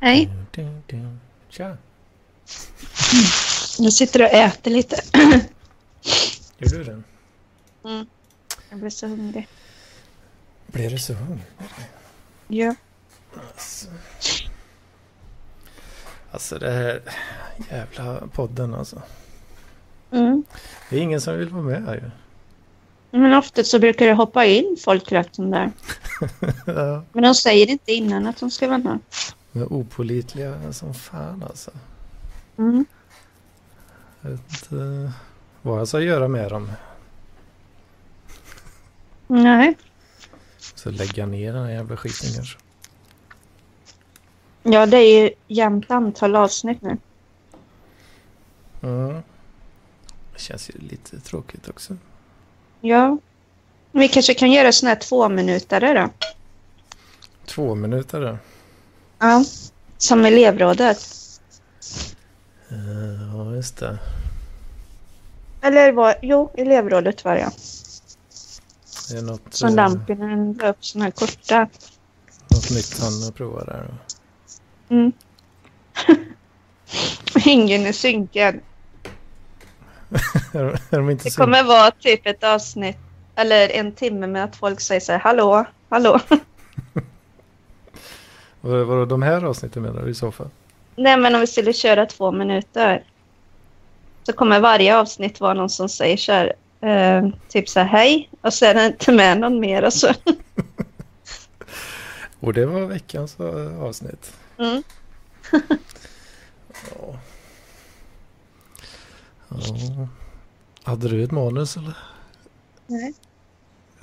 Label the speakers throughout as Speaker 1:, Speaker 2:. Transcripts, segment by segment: Speaker 1: Nej.
Speaker 2: Dun, dun. Tja,
Speaker 1: Jag sitter och äter lite.
Speaker 2: gör du den?
Speaker 1: Jag blir så hungrig.
Speaker 2: Blev du så hungrig?
Speaker 1: Ja.
Speaker 2: Alltså. alltså det här jävla podden alltså.
Speaker 1: Mm.
Speaker 2: Det är ingen som vill vara med här ju.
Speaker 1: Men ofta så brukar det hoppa in folk rätt som där.
Speaker 2: Ja,
Speaker 1: Men de säger inte innan att de ska vara med.
Speaker 2: De är opålitliga som fan alltså.
Speaker 1: Mm.
Speaker 2: Jag vet inte eh, vad jag ska göra med dem.
Speaker 1: Nej.
Speaker 2: Så lägga ner den här jävla skiten kanske.
Speaker 1: Ja, det är ju jämnt antal avsnitt nu.
Speaker 2: Mm. Det känns ju lite tråkigt också.
Speaker 1: Ja. Vi kanske kan göra såna här två minuter då.
Speaker 2: Två minuter där.
Speaker 1: Ja. Som elevrådet.
Speaker 2: Eh, Ja, just det.
Speaker 1: Eller var, jo, elevrådet var jag.
Speaker 2: Det är något,
Speaker 1: Som
Speaker 2: eh,
Speaker 1: Lampinen la upp såna här korta.
Speaker 2: något nytt han provar där.
Speaker 1: Mm. Ingen är synkad.
Speaker 2: Är de- är de inte
Speaker 1: Det
Speaker 2: så...
Speaker 1: kommer vara typ ett avsnitt eller en timme med att folk säger så här hallå, hallå.
Speaker 2: Vad Vadå, de här avsnitten menar du i så fall?
Speaker 1: Nej men om vi skulle köra två minuter så kommer varje avsnitt vara någon som säger så här eh, typ så här hej och sen är det inte med någon mer alltså. och så.
Speaker 2: Och det var veckans eh, avsnitt.
Speaker 1: Mm.
Speaker 2: Ja. ja. Hade du ett manus eller?
Speaker 1: Nej,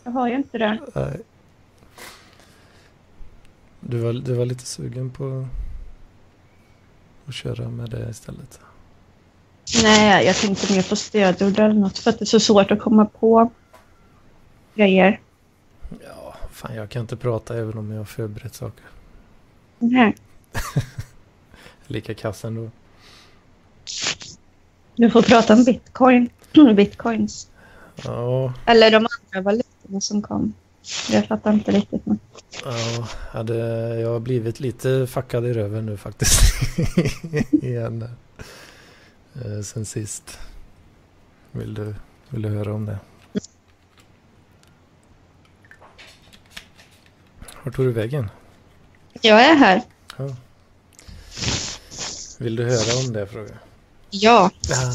Speaker 1: jag har ju inte det.
Speaker 2: Nej. Du var, du var lite sugen på att köra med det istället.
Speaker 1: Nej, jag tänkte mer på stödord eller något för att det är så svårt att komma på grejer.
Speaker 2: Ja, fan jag kan inte prata även om jag har förberett saker.
Speaker 1: Nej,
Speaker 2: Lika kass ändå.
Speaker 1: du får prata om bitcoin. bitcoins.
Speaker 2: Ja,
Speaker 1: Eller de andra valutorna som kom. Jag fattar inte riktigt. Men...
Speaker 2: ja hade, jag har blivit lite fuckad i röven nu faktiskt. Igen. Eh, Sen sist. Vill du, vill du höra om det? Vart tog du vägen?
Speaker 1: Jag är här.
Speaker 2: Ja. Vill du höra om det frågar
Speaker 1: Ja.
Speaker 2: jag. Ah.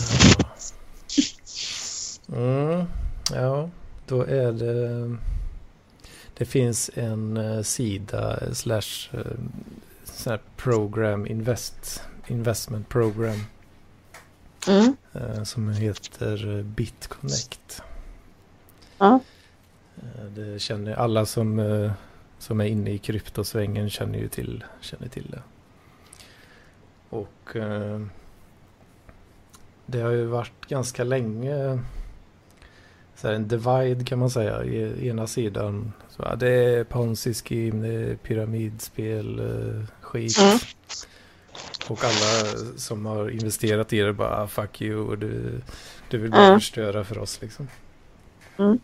Speaker 2: Mm, ja, då är det... Det finns en eh, sida eh, slash eh, sån här program invest, investment program
Speaker 1: Mm.
Speaker 2: eh, som heter eh, BitConnect.
Speaker 1: Ja.
Speaker 2: Eh, Det känner alla som, eh, som är inne i kryptosvängen känner ju till, känner till det. Och eh, det har ju varit ganska länge eh, så här en divide kan man säga. I, ena sidan så ja, det är ponzi scheme, det är pyramidspel, eh, skit.
Speaker 1: Mm.
Speaker 2: Och alla som har investerat i det bara "Ah, fuck you och du, du vill bara
Speaker 1: Mm.
Speaker 2: förstöra för oss liksom.
Speaker 1: Mm.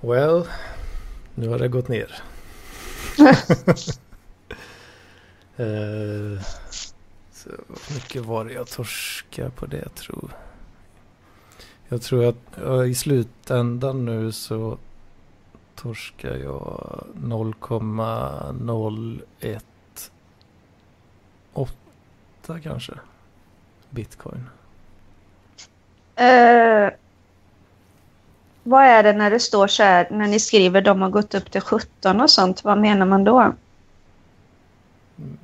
Speaker 2: Well, nu har det gått ner. Eh, så hur mycket var det jag torskade på det jag tror. Jag tror att ja, i slutändan nu så torskar jag 0,018 kanske. Bitcoin.
Speaker 1: Eh, vad är det när det står så här, när ni skriver de har gått upp till 17 och sånt, vad menar man då?
Speaker 2: Mm,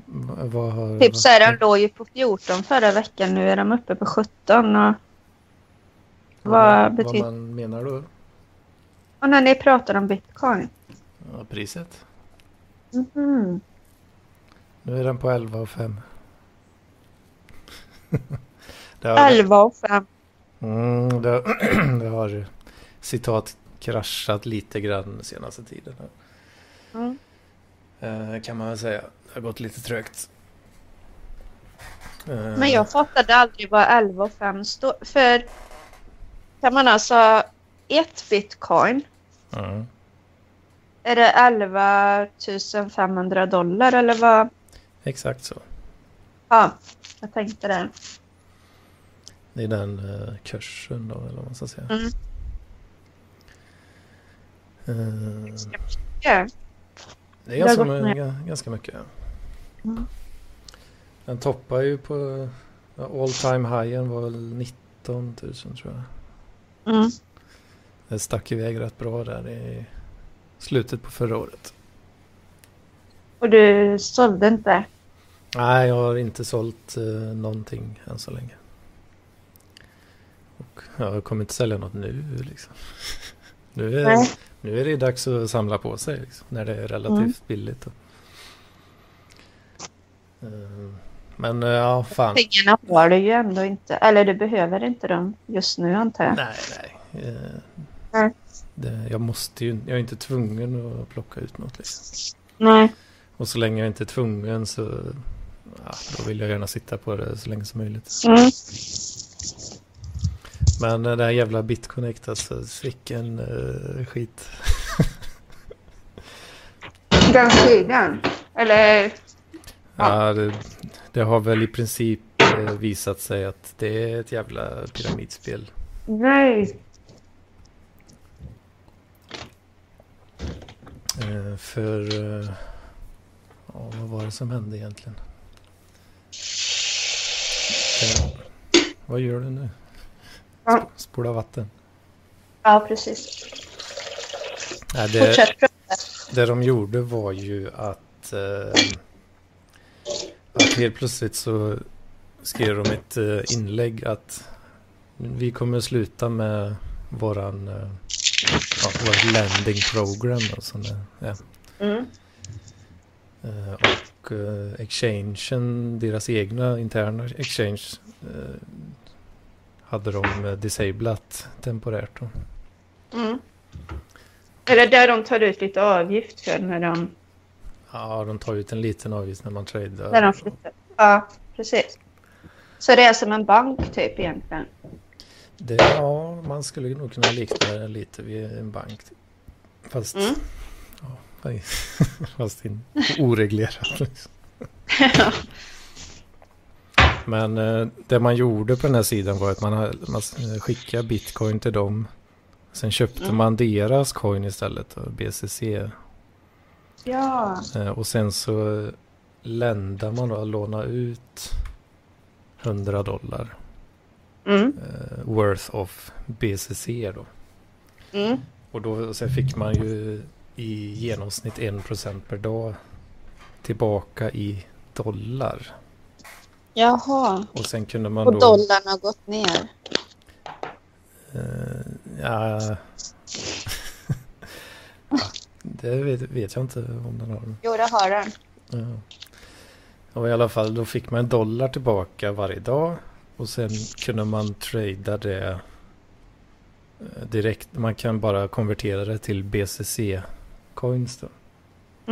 Speaker 2: va- Vad har...
Speaker 1: Typ så här, de låg ju på 14 förra veckan, nu är de uppe på 17 och, vad
Speaker 2: man-
Speaker 1: betyder-
Speaker 2: Vad man menar då?
Speaker 1: och när ni pratar om bitcoin.
Speaker 2: Ja, priset.
Speaker 1: Mhm.
Speaker 2: Nu är den på 11,5. Det har-
Speaker 1: 11 och 5.
Speaker 2: Mm, det, det har citat kraschat lite grann den senaste tiden. här.
Speaker 1: Mm.
Speaker 2: Eh, kan man väl säga. Det har gått lite trögt. Eh,
Speaker 1: Men jag fattade aldrig vad 11 och 5 står för. Kan man alltså ha ett bitcoin,
Speaker 2: Mm.
Speaker 1: är det 11 500 dollar eller vad?
Speaker 2: Exakt så.
Speaker 1: Ja, jag tänkte det.
Speaker 2: Det är den eh, kursen då, eller vad man ska säga.
Speaker 1: Mm.
Speaker 2: Eh,
Speaker 1: Ja.
Speaker 2: det är
Speaker 1: Jag har
Speaker 2: ganska,
Speaker 1: gått
Speaker 2: my-
Speaker 1: med.
Speaker 2: ga- ganska mycket.
Speaker 1: Mm.
Speaker 2: Den toppar ju på... ja, All time highen var väl 19 000 tror jag.
Speaker 1: Mm.
Speaker 2: Den stack iväg rätt bra där i slutet på förra året.
Speaker 1: Och du sålde inte?
Speaker 2: Nej, jag har inte sålt eh, någonting än så länge. Och jag kommer inte sälja något nu liksom. Nu är,
Speaker 1: Nej.
Speaker 2: nu är det dags att samla på sig liksom, när det är relativt
Speaker 1: Mm.
Speaker 2: billigt. Då. Eh, Men eh, ja, fan.
Speaker 1: Pengarna har du ju ändå inte. Eller du behöver inte dem just nu antar jag.
Speaker 2: Nej, nej. Eh,
Speaker 1: Nej.
Speaker 2: Det, jag måste ju, jag är inte tvungen att plocka ut något liksom.
Speaker 1: Nej.
Speaker 2: Och så länge jag inte är tvungen så ja, då vill jag gärna sitta på det så länge som möjligt.
Speaker 1: Mm.
Speaker 2: Men eh, det här jävla BitConnect alltså, vilken eh, skit.
Speaker 1: Den sidan? Eller? Ja.
Speaker 2: Ja, det, det har väl i princip eh, visat sig att det är ett jävla pyramidspel.
Speaker 1: Nej.
Speaker 2: Eh, för eh, ja, vad var det som hände egentligen? Eh, vad gör du nu?
Speaker 1: Ja.
Speaker 2: Sp- Spola vatten.
Speaker 1: Ja, precis.
Speaker 2: Nej, det,
Speaker 1: Fortsätt prata.
Speaker 2: Det de gjorde var ju att, eh, att helt plötsligt så skrev de ett eh, inlägg att vi kommer sluta med våran eh, ja, vårt landing program och sånt där. Ja.
Speaker 1: Mm.
Speaker 2: Eh, och eh, exchangen, deras egna interna exchange eh, hade de eh, disablat temporärt. Då.
Speaker 1: Mm. Är det där de tar ut lite avgift för när de,
Speaker 2: Ja, de tar ut en liten avgift när man
Speaker 1: när
Speaker 2: tradar.
Speaker 1: de flyttar? Ja, precis. Så det är som en bank typ egentligen?
Speaker 2: Det, ja, man skulle nog kunna likna det lite vid en bank. Fast,
Speaker 1: Mm.
Speaker 2: ja, nej, fast in, oreglerat. Liksom. Men eh, det man gjorde på den här sidan var att man, ha- man s- skickade bitcoin till dem. Sen köpte
Speaker 1: Mm.
Speaker 2: man deras coin istället, då, BCC.
Speaker 1: Ja.
Speaker 2: Eh, och sen så ländar man då, låna ut 100 dollar
Speaker 1: Mm.
Speaker 2: eh, worth of BCC då.
Speaker 1: Mm.
Speaker 2: Och då sen fick man ju i genomsnitt 1% per dag tillbaka i dollar.
Speaker 1: Jaha.
Speaker 2: Och sen kunde man
Speaker 1: Och
Speaker 2: då...
Speaker 1: dollarn har gått ner.
Speaker 2: Eh, ja, ja, det vet, vet jag inte om den har.
Speaker 1: Jo, det har den.
Speaker 2: Ja. Och i alla fall, då fick man en dollar tillbaka varje dag. Och sen kunde man trada det eh, direkt. Man kan bara konvertera det till BCC-coins då.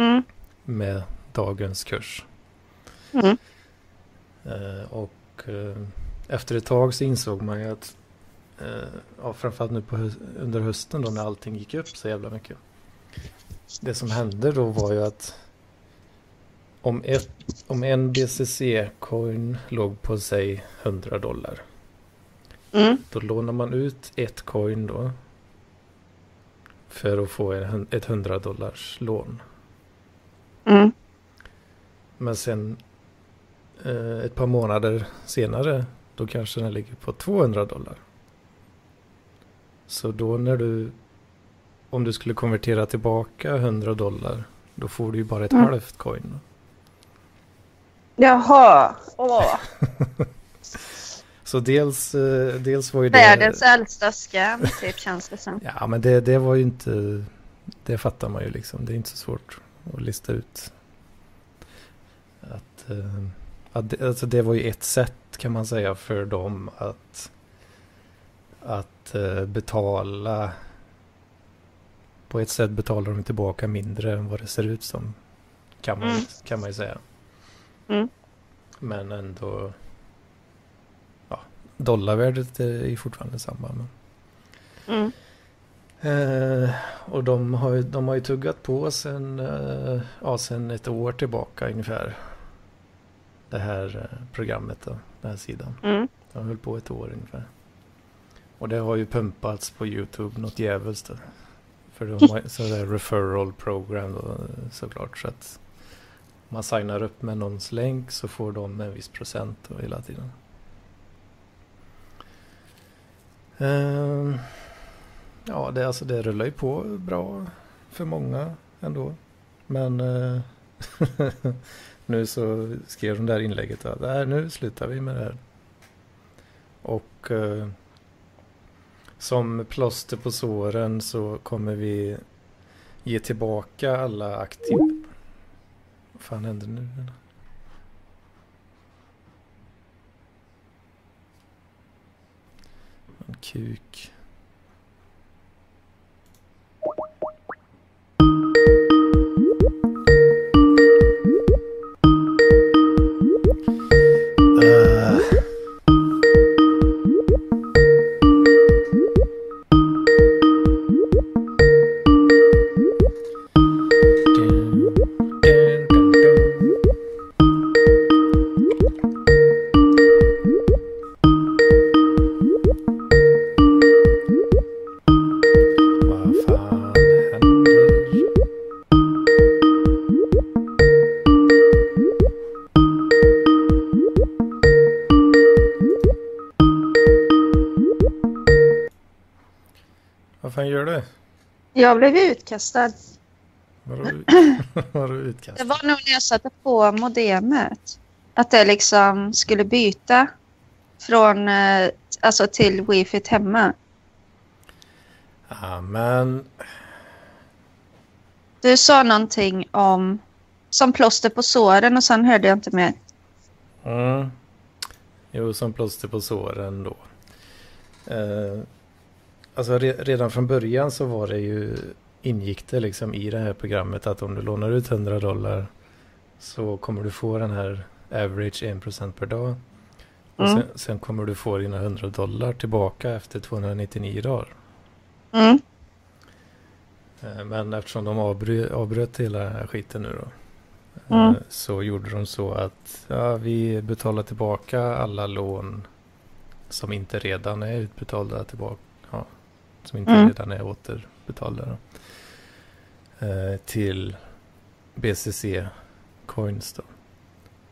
Speaker 1: Mm.
Speaker 2: med dagens kurs.
Speaker 1: Mm.
Speaker 2: Eh, och eh, efter ett tag så insåg man ju att eh, ja, framförallt nu på hö- under hösten då när allting gick upp så jävla mycket. Det som hände då var ju att om, ett, om en BCC-coin låg på sig 100 dollar
Speaker 1: Mm.
Speaker 2: då lånar man ut ett coin då för att få en hun- ett 100 dollars lån.
Speaker 1: Mm.
Speaker 2: Men sen eh, ett par månader senare då kanske den ligger på 200 dollar. Så då när du om du skulle konvertera tillbaka 100 dollar då får du ju bara ett
Speaker 1: Mm.
Speaker 2: halvt coin. då.
Speaker 1: Jaha. Åh.
Speaker 2: Så dels, eh, dels var ju det...
Speaker 1: Världens äldsta scam typ känns det som.
Speaker 2: Ja men det, det var ju inte... Det fattar man ju liksom. Det är inte så svårt att lista ut. Att, eh, att det, alltså det var ju ett sätt kan man säga för dem att, att eh, betala. På ett sätt betalar de tillbaka mindre än vad det ser ut som. Kan man,
Speaker 1: Mm.
Speaker 2: kan man ju säga.
Speaker 1: Mm.
Speaker 2: Men ändå. Ja, dollarvärdet är ju fortfarande samma. Men.
Speaker 1: Mm.
Speaker 2: Eh, och de har, ju, de har ju tuggat på sen, eh, ja, sen ett år tillbaka ungefär. det här eh, programmet, då, den här sidan.
Speaker 1: Mm.
Speaker 2: Den höll på ett år ungefär. Och det har ju pumpats på YouTube något djävulskt. då. För de har ju sådär referral program då, såklart. Så att man signar upp med någons länk så får de en viss procent då, hela tiden. Ehm, ja, det, alltså, det rullar ju på bra för många ändå. Men eh, nu så skrev de där inlägget att "Nej, nu slutar vi med det här. Och eh, som plåster på såren så kommer vi ge tillbaka alla aktiva... Vad fan hände nu? En kuk. Eh. Vad fan händer? Vad fan gör du?
Speaker 1: Jag blev utkastad.
Speaker 2: Var du, var du utkastad?
Speaker 1: Det var nog när jag satte på modemet. Att det liksom skulle byta från, eh, alltså till wifi hemma.
Speaker 2: Ja, men
Speaker 1: Du sa någonting om, som plåster på såren och sen hörde jag inte mer.
Speaker 2: Mm. Jo, som plåster på såren då. Eh, alltså re- redan från början så var det ju ingick det liksom i det här programmet att om du lånar ut 100 dollar så kommer du få den här average 1% per dag. Och
Speaker 1: Mm.
Speaker 2: sen, sen kommer du få dina 100 dollar tillbaka efter 299 dagar.
Speaker 1: Mm.
Speaker 2: Eh, Men eftersom de avbry- avbröt hela den här skiten nu då. eh,
Speaker 1: Mm.
Speaker 2: Så gjorde de så att ja, vi betalar tillbaka alla lån som inte redan är utbetalda tillbaka. Ja, som inte
Speaker 1: Mm.
Speaker 2: redan är återbetalda. Då, eh, till BCC Coins då.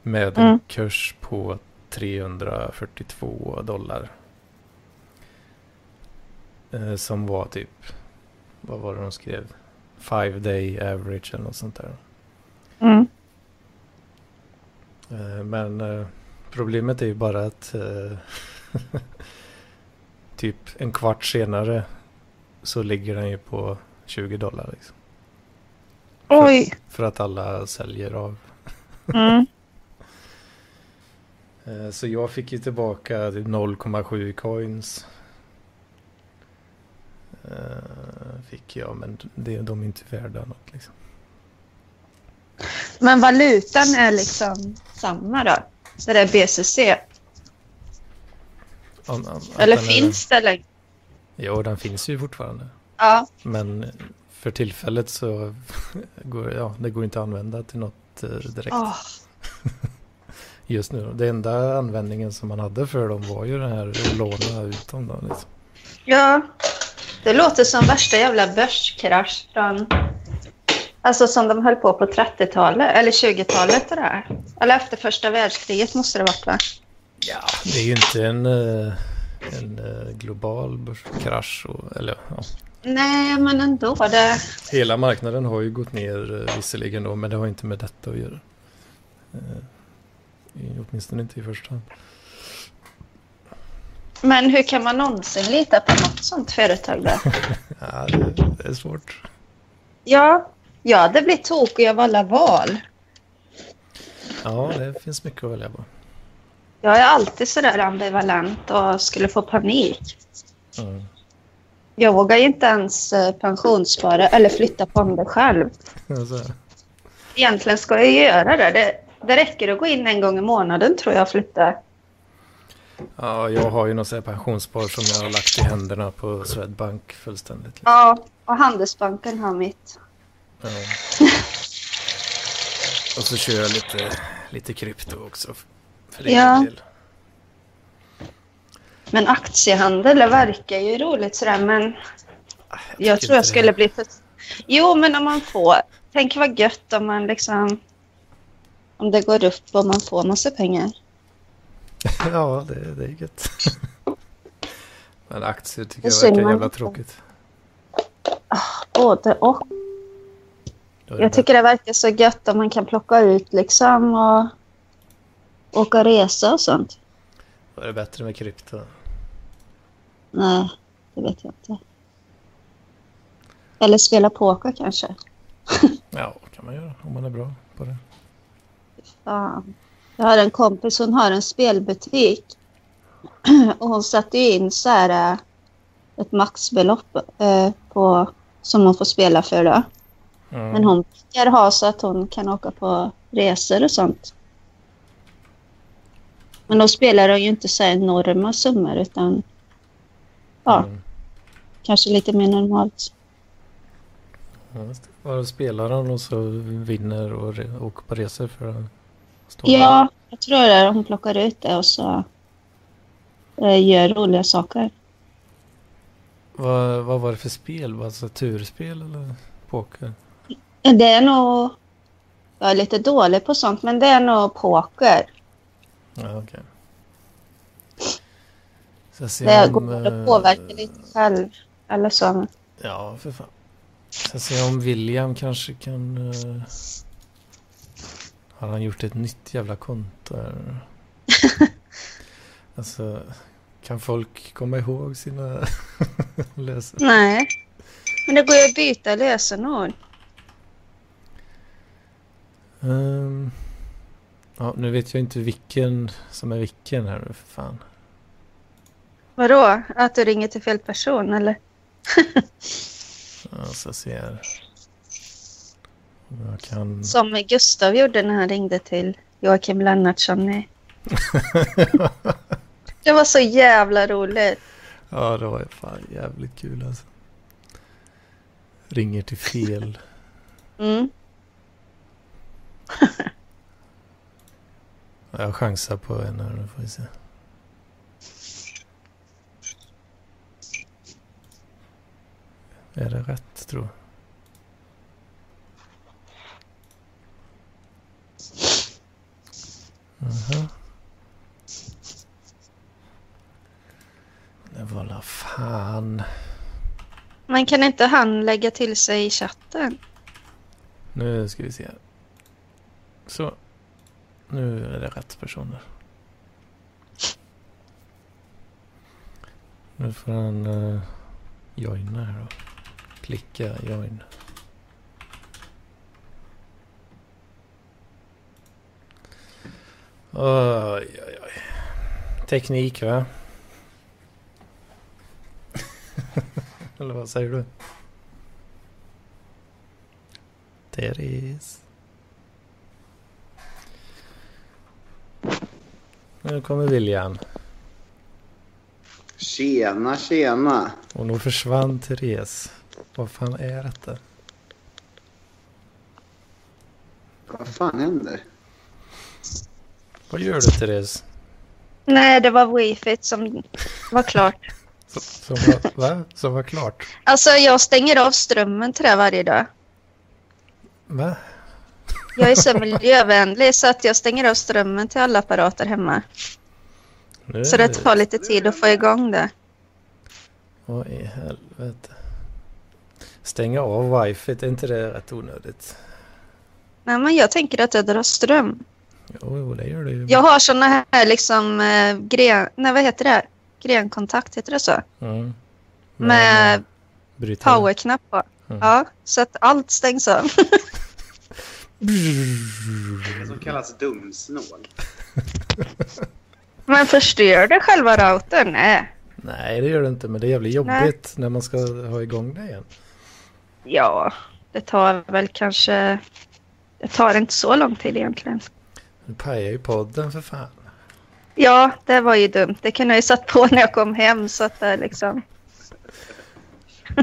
Speaker 2: Med en
Speaker 1: Mm.
Speaker 2: kurs på 342 dollar. Eh, som var typ, vad var det de skrev? Five day average eller något sånt där.
Speaker 1: Mm.
Speaker 2: Eh, Men eh, problemet är ju bara att eh, typ en kvart senare så ligger den ju på 20 dollar. Liksom,
Speaker 1: Oj.
Speaker 2: för att alla säljer av.
Speaker 1: Mm.
Speaker 2: Eh, Så jag fick ju tillbaka typ 0,7 coins. Eh, Fick jag, men det, de är inte värda något. Liksom.
Speaker 1: Men valutan är liksom samma då? Det där BCC.
Speaker 2: Om- om- att
Speaker 1: Eller
Speaker 2: den är-
Speaker 1: finns det längre?
Speaker 2: Jo, den finns ju fortfarande.
Speaker 1: Ja.
Speaker 2: Men för tillfället så går ja, det går inte att använda till något eh, direkt
Speaker 1: Åh.
Speaker 2: just nu. Den enda användningen som man hade för dem var ju den här att låna ut dem. Då, liksom.
Speaker 1: Ja. Det låter som värsta jävla börskrasch från... Alltså som de höll på på 30-talet eller 20-talet och det här. Eller efter första världskriget måste det varit va?
Speaker 2: ja, det är ju inte en, eh, en eh, global börskrasch. Och, eller, ja.
Speaker 1: Nej, men ändå. Det...
Speaker 2: Hela marknaden har ju gått ner eh, visserligen då, men det har inte med detta att göra. Eh, i- Åtminstone inte i första hand.
Speaker 1: Men hur kan man någonsin lita på något sånt företag där?
Speaker 2: Ja, det, det är svårt.
Speaker 1: Ja, ja det blir tokig av alla val.
Speaker 2: Ja, det finns mycket att välja på.
Speaker 1: Jag är alltid sådär ambivalent och skulle få panik.
Speaker 2: Mm.
Speaker 1: Jag vågar ju inte ens eh, pensionsspara eller flytta fonder själv.
Speaker 2: Alltså,
Speaker 1: Egentligen ska jag ju göra det. det. Det räcker att gå in en gång i månaden tror jag och flytta.
Speaker 2: Ja, jag har ju något sånt här pensionsspar som jag har lagt i händerna på Swedbank fullständigt. Ja.
Speaker 1: Ja, och Handelsbanken har mitt.
Speaker 2: Och så kör jag lite, lite krypto också. För
Speaker 1: Ja.
Speaker 2: egen del.
Speaker 1: Men aktiehandel det verkar ju roligt sådär, men
Speaker 2: Ah,
Speaker 1: jag,
Speaker 2: tycker
Speaker 1: tror jag
Speaker 2: inte
Speaker 1: skulle
Speaker 2: det.
Speaker 1: bli för... Jo, men om man får... Tänk vad gött om man liksom... Om det går upp och man får massa pengar.
Speaker 2: Ja, det, det är gött. Men aktier tycker
Speaker 1: Det
Speaker 2: jag
Speaker 1: ser
Speaker 2: verkar
Speaker 1: man
Speaker 2: jävla
Speaker 1: inte.
Speaker 2: tråkigt.
Speaker 1: Både och.
Speaker 2: Då är det
Speaker 1: Jag tycker det verkar så gött om man kan plocka ut liksom och åka och resa och sånt.
Speaker 2: bättre- Då är det bättre med krypto.
Speaker 1: Nej, det vet jag inte. Eller spela poker kanske.
Speaker 2: Ja, kan man göra om man är bra på det.
Speaker 1: Fan. Jag har en kompis, hon har en spelbutik. Och hon satte ju in så här eh, ett maxbelopp eh, på, som hon får spela för då.
Speaker 2: Mm.
Speaker 1: Men hon brukar ha så att hon kan åka på resor och sånt. Men då spelar hon ju inte så här enorma summor utan ja,
Speaker 2: Mm.
Speaker 1: kanske lite mer normalt.
Speaker 2: Ja, just det. Bara spelar hon och så vinner och re- åker på resor för att stå där.
Speaker 1: Ja, jag tror det. är Hon plockar ut det och så eh, gör roliga saker.
Speaker 2: Vad, vad var det för spel? Var det så turspel eller poker?
Speaker 1: Det är nog... Jag är lite dålig på sånt, men det är nog poker.
Speaker 2: Ja, okej. Så jag ser
Speaker 1: Det
Speaker 2: om,
Speaker 1: går
Speaker 2: eh,
Speaker 1: att påverka lite själv. Eller så.
Speaker 2: Ja, för fan. Ska se om William kanske kan... eh, Har han gjort ett nytt jävla konto här? alltså, kan folk komma ihåg sina lösen?
Speaker 1: Nej. Men det går ju att byta lösenord.
Speaker 2: Ehm, ja, nu vet jag inte vilken som är vilken här nu, för fan.
Speaker 1: Vadå? Att du ringer till fel person eller?
Speaker 2: Ja, så ser jag. Alltså, Om Jag kan...
Speaker 1: Som Gustav gjorde när han ringde till Joakim Lennartsson. i- Det var så jävla roligt.
Speaker 2: ja, det var fan jävligt kul alltså. Ringer till fel.
Speaker 1: Mm.
Speaker 2: Ja, Jag chansar på en här nu får vi se. Är det rätt tror jag? Jaha. Det var la fan.
Speaker 1: Men kan inte han lägga till sig i chatten?
Speaker 2: Nu ska vi se. här. Så. Nu är det rätt personer. Nu får han uh, joina här då. Klicka join. Oj, oj, oj. Teknik va? Eller vad säger du? Therese. Nu kommer William.
Speaker 3: Tjena, tjena.
Speaker 2: Och nu försvann Therese. Vad fan är detta?
Speaker 3: Vad fan händer?
Speaker 2: Vad gör du Therese?
Speaker 1: Nej, det var wifi som var klart.
Speaker 2: Som, som, var, va? som var klart?
Speaker 1: Alltså jag stänger av strömmen till det varje dag.
Speaker 2: Va?
Speaker 1: Jag är så miljövänlig så att jag stänger av strömmen till alla apparater hemma.
Speaker 2: Nu
Speaker 1: Så det tar lite tid att få igång det.
Speaker 2: Vad i helvete? Stänga av wifi, är inte det rätt onödigt?
Speaker 1: Nej, men jag tänker att det drar ström.
Speaker 2: Jo, jo det gör det ju.
Speaker 1: Jag har såna här liksom eh, gren... Nej, vad heter det? Grenkontakt, heter det så?
Speaker 2: Mm.
Speaker 1: Med
Speaker 2: brytare.
Speaker 1: powerknapp på.
Speaker 2: Mm.
Speaker 1: Ja, så att allt stängs av.
Speaker 3: Det som kallas dumsnål.
Speaker 1: Men förstör det själva routern? Nej.
Speaker 2: Nej, det gör det inte, men det är jävligt jobbigt när man ska ha igång det igen.
Speaker 1: Ja, det tar väl kanske... Det tar inte så lång tid egentligen.
Speaker 2: Du pajar ju podden för fan.
Speaker 1: Ja, det var ju dumt. Det kunde jag ju satt på när jag kom hem så att det liksom...
Speaker 2: Ja.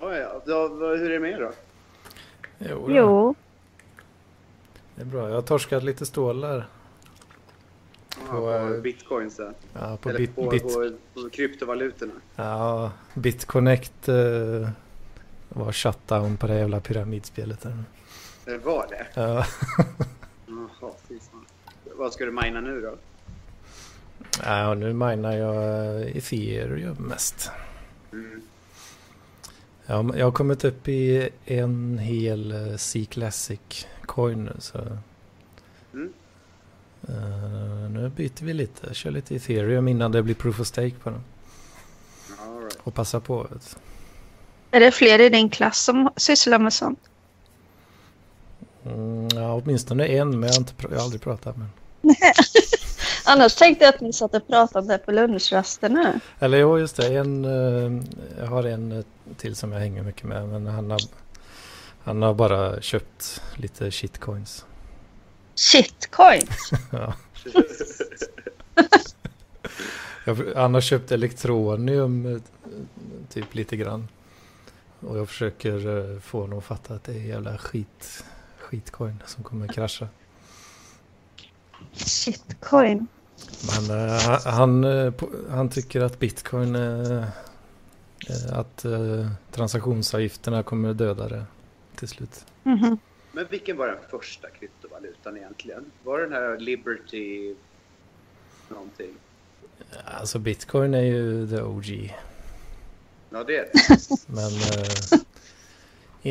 Speaker 3: Ja, ja. Då, vad- hur är det med er då?
Speaker 2: Jo, då.
Speaker 1: Jo.
Speaker 2: Det är bra. Jag har torskat lite stålar
Speaker 4: Ja,
Speaker 2: På, eh,
Speaker 4: på bitcoins där.
Speaker 2: ja, på,
Speaker 4: Eller
Speaker 2: bit,
Speaker 4: på,
Speaker 2: bit,
Speaker 4: på, på kryptovalutorna.
Speaker 2: Ja, BitConnect eh, var shutdown på det jävla pyramidspelet. Där.
Speaker 4: Det var det.
Speaker 2: Ja,
Speaker 4: Jaha, fy fan. Vad ska du mina nu då?
Speaker 2: ja, och nu minar jag eh, Ethereum mest.
Speaker 4: Mm.
Speaker 2: Ja, jag har kommit upp i en hel eh, C-Classic coin nu. Så,
Speaker 4: Mm.
Speaker 2: eh, nu byter vi lite. Kör lite Ethereum innan det blir proof of stake på den.
Speaker 4: All right.
Speaker 2: Och passa på. Vet.
Speaker 1: Är det fler i din klass som sysslar med sånt?
Speaker 2: du. Mm, ja, åtminstone en, men jag har, inte pr- jag har aldrig pratat med den.
Speaker 1: Annars tänkte jag att ni satt och pratade om det på lunchrasterna.
Speaker 2: Eller jo, just det. En, eh, jag har en eh, till som jag hänger mycket med. Men han har, han har bara köpt lite shitcoins.
Speaker 1: Shitcoin!
Speaker 2: Ja. Jag, han har köpt elektronium eh, typ lite grann. Och jag försöker eh, få honom att fatta att det är jävla skit, skitcoin som kommer krascha.
Speaker 1: Shitcoin.
Speaker 2: Men eh, han, han, eh, på- han tycker att bitcoin, eh, eh, att eh, transaktionsavgifterna kommer döda det till slut.
Speaker 1: Mhm.
Speaker 4: Men vilken var den första kryptovalutan egentligen? Var det den här Liberty någonting?
Speaker 2: Alltså bitcoin är ju the OG.
Speaker 4: Ja, det är det.
Speaker 2: Men eh,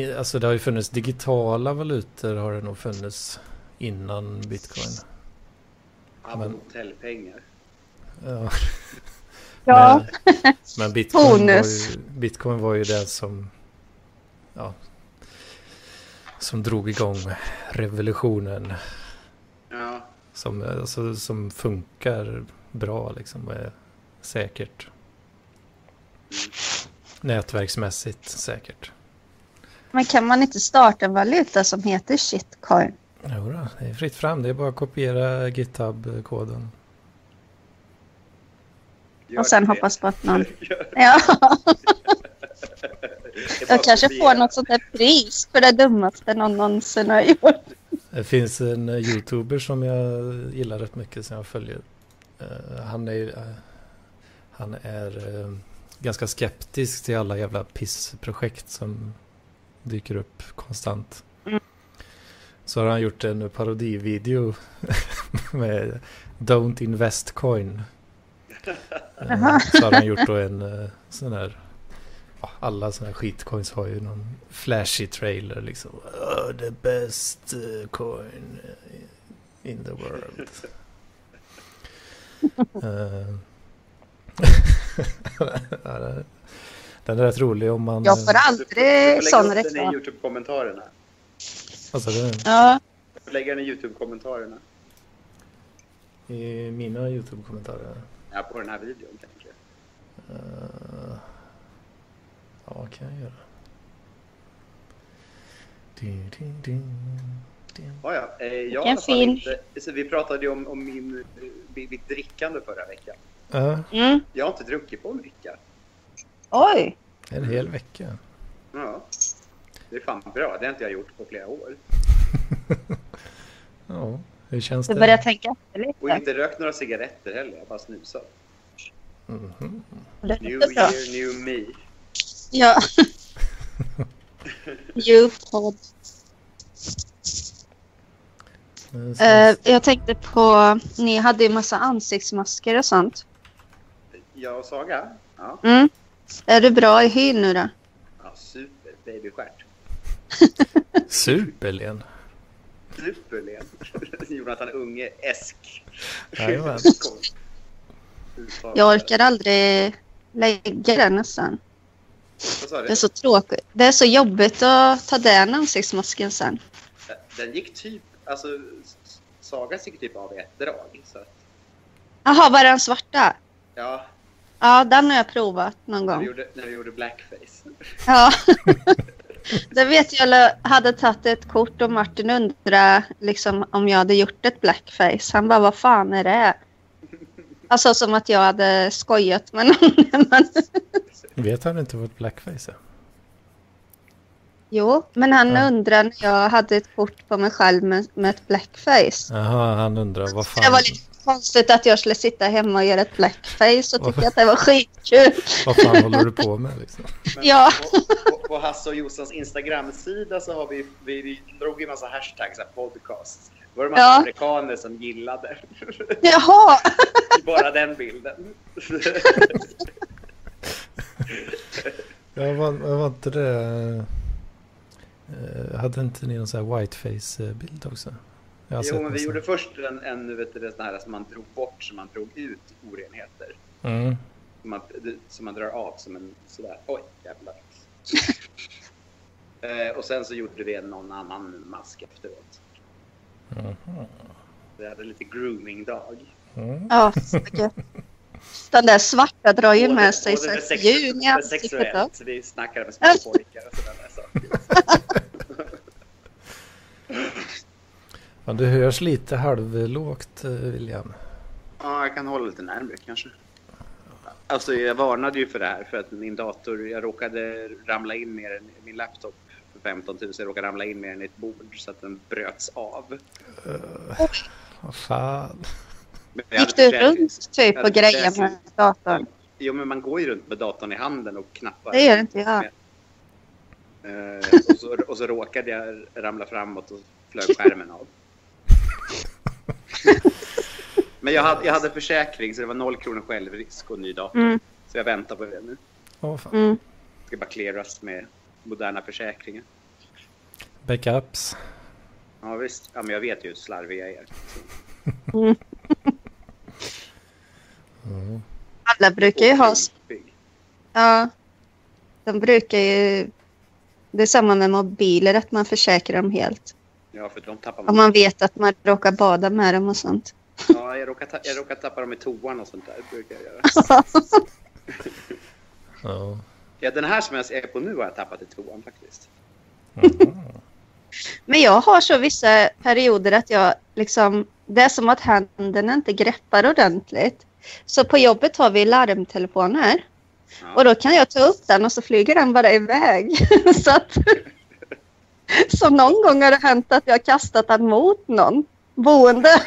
Speaker 2: i- alltså det har ju funnits digitala valutor har det nog funnits innan bitcoin.
Speaker 4: Abba hotellpengar.
Speaker 2: Ja.
Speaker 1: Ja.
Speaker 2: Men, men bitcoin, var
Speaker 1: Bonus.
Speaker 2: ju, bitcoin var ju det som ja, som drog igång revolutionen.
Speaker 4: Ja,
Speaker 2: Som, alltså, som funkar bra liksom och är säkert. Nätverksmässigt säkert.
Speaker 1: Men kan man inte starta en valuta som heter shitcoin?
Speaker 2: Jodå, det är fritt fram. Det är bara att kopiera GitHub-koden.
Speaker 4: gör
Speaker 1: Och sen
Speaker 4: det.
Speaker 1: hoppas på att någon... Ja,
Speaker 4: Det är bara
Speaker 1: jag kanske
Speaker 4: kopiera.
Speaker 1: får något sånt där pris för det dummaste någon någonsin har gjort.
Speaker 2: Det finns en eh, YouTuber som jag gillar rätt mycket som jag följer. Eh, Han är, ju, eh, han är eh, ganska skeptisk till alla jävla pissprojekt som dyker upp konstant.
Speaker 1: Mm.
Speaker 2: Så har han gjort en parodivideo med Don't Invest Coin. Eh, Så har han gjort då en eh, sån här ja, alla sådana här skitcoins har ju någon flashy trailer liksom. Oh, the best eh, coin in the world. Eh, ja, den- den är rätt rolig om man...
Speaker 1: Jag får
Speaker 2: eh,
Speaker 4: Du får- Mm. du får
Speaker 1: aldrig
Speaker 4: lägga
Speaker 1: sån
Speaker 4: upp den i
Speaker 1: reklam.
Speaker 4: Youtube-kommentarerna.
Speaker 2: Alltså, den,
Speaker 1: Ja,
Speaker 4: Du får lägga den i Youtube-kommentarerna.
Speaker 2: I mina YouTube-kommentarer.
Speaker 4: Ja, på den här videon kanske.
Speaker 2: Eh, ja, vad kan jag göra? Ding, ding, ding, ding.
Speaker 4: Ja, ja. Eh, jag
Speaker 1: Vilken
Speaker 4: har i alla fall
Speaker 1: fin.
Speaker 4: inte, så vi pratade ju om, om min, eh, mitt mitt drickande förra veckan.
Speaker 2: Ja,
Speaker 1: mm.
Speaker 4: Jag har inte druckit på en vecka.
Speaker 1: oj.
Speaker 2: en hel vecka.
Speaker 4: Ja. Det är fan bra. Det har inte jag gjort på flera år.
Speaker 2: Ja, hur känns
Speaker 1: Du
Speaker 2: det?
Speaker 1: börjar tänka efter
Speaker 4: Och
Speaker 1: lite.
Speaker 4: inte rökt några cigaretter heller. Jag har bara snusat.
Speaker 2: Mhm.
Speaker 1: Det är
Speaker 4: New
Speaker 1: bra.
Speaker 4: year, new me.
Speaker 1: Ja. Djupod.
Speaker 2: Nu ska vi
Speaker 1: Eh, jag tänkte på, ni hade ju massa ansiktsmasker och sånt.
Speaker 4: Jag och Saga? Ja.
Speaker 1: Mm. Är du bra i hyn nu då?
Speaker 4: ja super. Babystjärt.
Speaker 2: Super Len.
Speaker 4: Super, Len. Jonathan Unge, Esk.
Speaker 2: Jajamän.
Speaker 4: Uttal.
Speaker 1: Jag orkar aldrig lägga den nästan.
Speaker 4: Vad sa du?
Speaker 1: Det är så tråkigt. Det är så jobbigt att ta den ansiktsmasken sen.
Speaker 4: Den gick typ... Alltså, S- Sagas gick typ av i ett drag. Så att,
Speaker 1: Jaha, var den svarta?
Speaker 4: ja,
Speaker 1: Ja, den har jag provat någon
Speaker 4: när vi,
Speaker 1: gång.
Speaker 4: gjorde, när vi gjorde blackface.
Speaker 1: Ja. Det vet jag jag hade tagit ett kort och Martin undrade liksom, om jag hade gjort ett blackface. Han bara, vad fan är det? Alltså som att jag hade skojat med någon. Men,
Speaker 2: Vet han inte vad blackface är?
Speaker 1: Jo, men han
Speaker 2: Ja.
Speaker 1: undrar när jag hade ett kort på mig själv med, med ett blackface.
Speaker 2: Jaha, han undrar vad fan,
Speaker 1: Det var lite konstigt att jag skulle sitta hemma och göra ett blackface och tycka att det var skitkul.
Speaker 2: vad fan håller du på med liksom?
Speaker 4: Men
Speaker 1: Ja.
Speaker 4: på, på, på Hasse och Jossans Instagram-sida så har vi, vi, vi drog ju massa hashtags, så här, podcast. Det var det massa
Speaker 1: Ja.
Speaker 4: amerikaner som gillade
Speaker 1: Jaha!
Speaker 4: bara den bilden.
Speaker 2: Jag var, jag var inte det... eh, hade inte ni någon sån här whiteface-bild också? Jag har
Speaker 4: jo, men
Speaker 2: någon
Speaker 4: vi
Speaker 2: sån.
Speaker 4: gjorde först en, en vet du, det sån här som man drog bort, som man drog ut orenheter.
Speaker 2: Mm.
Speaker 4: Som man, som man drar av som en sådär. Oj, jävlar. eh, och sen så gjorde vi en- någon annan mask efteråt.
Speaker 2: Jaha.
Speaker 4: Vi hade lite grooming-dag.
Speaker 2: Mm.
Speaker 1: Ja, så gött. Den där svarta drar ju
Speaker 4: Både-
Speaker 1: med sig typ
Speaker 4: både
Speaker 1: så
Speaker 4: det
Speaker 1: här
Speaker 4: sex-
Speaker 1: ljun i
Speaker 4: det
Speaker 1: ansiktet.
Speaker 4: sexuellt,
Speaker 1: då.
Speaker 4: så Vi snackade med små pojkar och sådana där saker.
Speaker 2: Fan, du hörs lite halvlågt, eh, William.
Speaker 4: Ja, jag kan hålla lite närmare kanske. Alltså, jag varnade ju för det här för att min dator, jag råkade ramla in med den, min laptop för 15 000, jag råkade ramla in med den i ett bord så att den bröts av.
Speaker 2: Vad fan.
Speaker 4: Men jag
Speaker 1: Gick
Speaker 4: hade
Speaker 1: du
Speaker 4: försäkrings-
Speaker 1: runt typ
Speaker 4: jag
Speaker 1: och
Speaker 4: hade
Speaker 1: grejade med
Speaker 4: försäkrings-
Speaker 1: datorn?
Speaker 4: Jo, men man går ju runt med datorn i handen och knappar.
Speaker 1: Det gör inte jag.
Speaker 4: Eh, och, så, och så råkade jag ramla framåt och flög skärmen av. Men jag hade, jag hade försäkring så det var noll kronor självrisk och ny dator.
Speaker 1: Mm,
Speaker 4: Så jag väntar på det nu.
Speaker 2: Åh, fan.
Speaker 1: mm.
Speaker 4: ska bara clearas med moderna försäkringar.
Speaker 2: Backups.
Speaker 4: Ja visst, ja, men jag vet ju hur slarviga jag är.
Speaker 2: Mm.
Speaker 1: Alla brukar ju ha...
Speaker 4: Otympig.
Speaker 1: Ja. De brukar ju... Det är samma med mobiler, att man försäkrar dem helt.
Speaker 4: Ja, för de tappar
Speaker 1: Om
Speaker 4: man.
Speaker 1: man vet att man råkar bada med dem och sånt.
Speaker 4: Ja, jag råkar, ta- jag råkar tappa dem i toan och sånt där. brukar jag göra.
Speaker 2: Ja.
Speaker 4: Ja, den här som jag är på nu har jag tappat i toan faktiskt.
Speaker 1: Men jag har så vissa perioder att jag liksom, det är som att händerna inte greppar ordentligt. Så på jobbet har vi larmtelefoner
Speaker 4: Ja.
Speaker 1: och då kan jag ta upp den och så flyger den bara iväg. så, att, så någon gång har det hänt att jag har kastat den mot någon boende.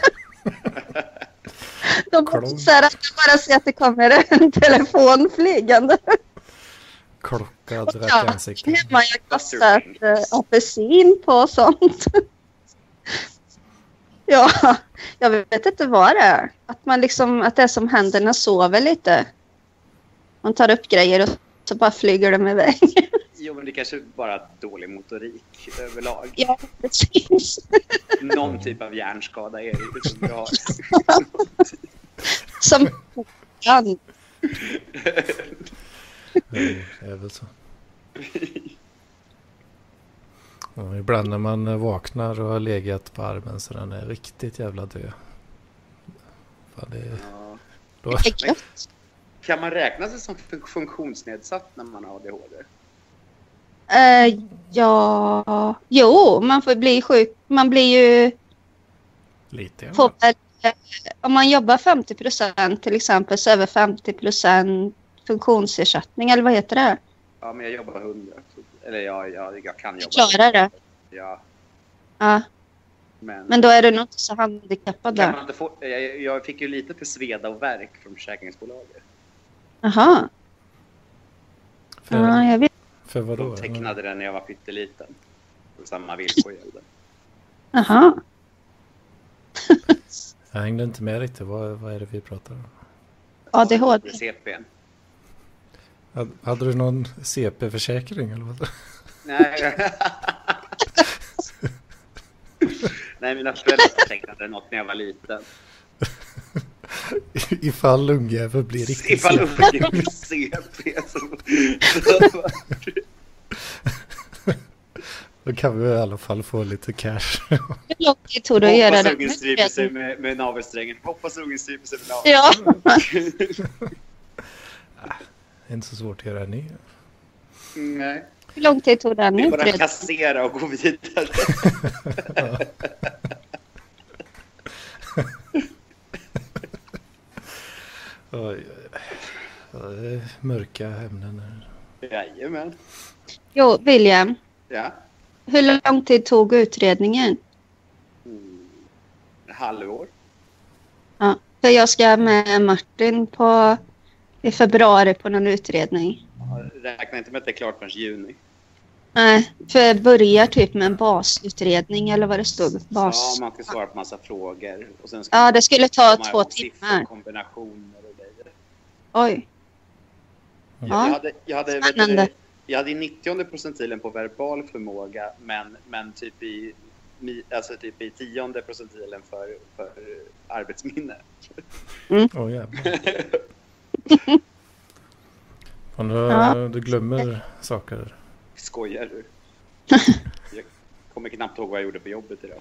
Speaker 1: Då blir det så här att jag bara ser att det kommer en telefon flygande.
Speaker 2: Klocka direkt i
Speaker 1: Ja,
Speaker 2: ansiktet.
Speaker 1: hemma jag kastat eh, apelsin på och sånt. ja, jag vet inte vad det är. Att, man liksom, att det är som händerna sover lite. Man tar upp grejer och så bara flyger de iväg.
Speaker 4: Jo, men det kanske är bara dålig motorik överlag.
Speaker 1: ja, precis.
Speaker 4: Någon typ av hjärnskada är det ju som jag har.
Speaker 1: Som kan.
Speaker 2: Mm, det är väl så. Ja, ibland när man eh, vaknar och har legat på armen så den är riktigt jävla död. Fan, det är,
Speaker 4: Ja.
Speaker 2: då,
Speaker 1: Det är gött.
Speaker 4: Kan man räkna sig som fun- funktionsnedsatt när man har ADHD?
Speaker 1: Eh, ja, jo, man får bli sjuk. Man blir ju...
Speaker 2: lite
Speaker 1: Får
Speaker 2: jävla.
Speaker 1: väl, eh, om man jobbar 50 procent till exempel så är väl 50 procent funktionsersättning eller vad heter det?
Speaker 4: Ja, men jag jobbar 100. Eller ja, ja, jag kan jobba.
Speaker 1: Klarar det.
Speaker 4: Ja,
Speaker 1: Ja,
Speaker 4: men...
Speaker 1: men då är du nog inte så handikappad
Speaker 4: Kan man
Speaker 1: där.
Speaker 4: inte få, jag, jag fick ju lite för sveda och värk från försäkringsbolaget.
Speaker 1: Jaha, ja,
Speaker 2: För,
Speaker 1: jag vet.
Speaker 2: för vadå?
Speaker 4: De tecknade den när jag var pytteliten. Och Samma villkor gällde.
Speaker 1: Jaha.
Speaker 2: Jag hängde inte med riktigt. Vad, vad är det vi pratar om?
Speaker 1: ADHD.
Speaker 4: CPN.
Speaker 2: Hade- Hade du någon CP-försäkring eller vad?
Speaker 4: Nej. Nej, mina föräldrar tecknade något när jag var liten.
Speaker 2: Ifall lungjäveln blir riktigt
Speaker 4: Ifall
Speaker 2: slö.
Speaker 4: ungen blir CP. Så, så,
Speaker 2: Då kan vi i alla fall få lite cash.
Speaker 1: Hur lång tid tog det att göra
Speaker 4: hoppas
Speaker 1: det?
Speaker 4: ungen stryper sig med, med navelsträngen. Hoppas ungen stryper sig med navelsträngen.
Speaker 1: Ja,
Speaker 2: inte så svårt att göra en ny.
Speaker 4: Nej.
Speaker 1: hur lång tid tog den
Speaker 4: Det är bara att
Speaker 1: utredningen?
Speaker 4: kassera och gå vidare.
Speaker 2: Oj, oj. Ja, det är Mörka ämnen. här.
Speaker 4: Jajamän.
Speaker 1: Jo, William,
Speaker 4: Ja.
Speaker 1: Hur lång tid tog utredningen?
Speaker 4: Mm. Halvår.
Speaker 1: Ja, för jag ska med Martin på, i februari på någon utredning.
Speaker 4: Ja, Räkna inte med att det är klart förrän juni.
Speaker 1: Nej, för jag börjar typ med en basutredning eller vad det stod. Bas.
Speaker 4: Ja, man ska svara på massa frågor. Och sen ska
Speaker 1: Ja, det skulle ta
Speaker 4: man komma
Speaker 1: två
Speaker 4: ihåg siffror,
Speaker 1: timmar.
Speaker 4: kombinationer och grejer.
Speaker 1: Oj.
Speaker 4: Jag
Speaker 1: Ja,
Speaker 4: hade, jag hade, vet
Speaker 1: Spännande.
Speaker 4: du, jag hade i 90 procentilen på verbal förmåga, men, men typ i mi- alltså typ i tionde procentilen för, för arbetsminne.
Speaker 2: Åh jävlar. Fan, du,
Speaker 1: Ja.
Speaker 2: du glömmer saker.
Speaker 4: Skojar du? Jag kommer knappt ihåg vad jag gjorde på jobbet idag.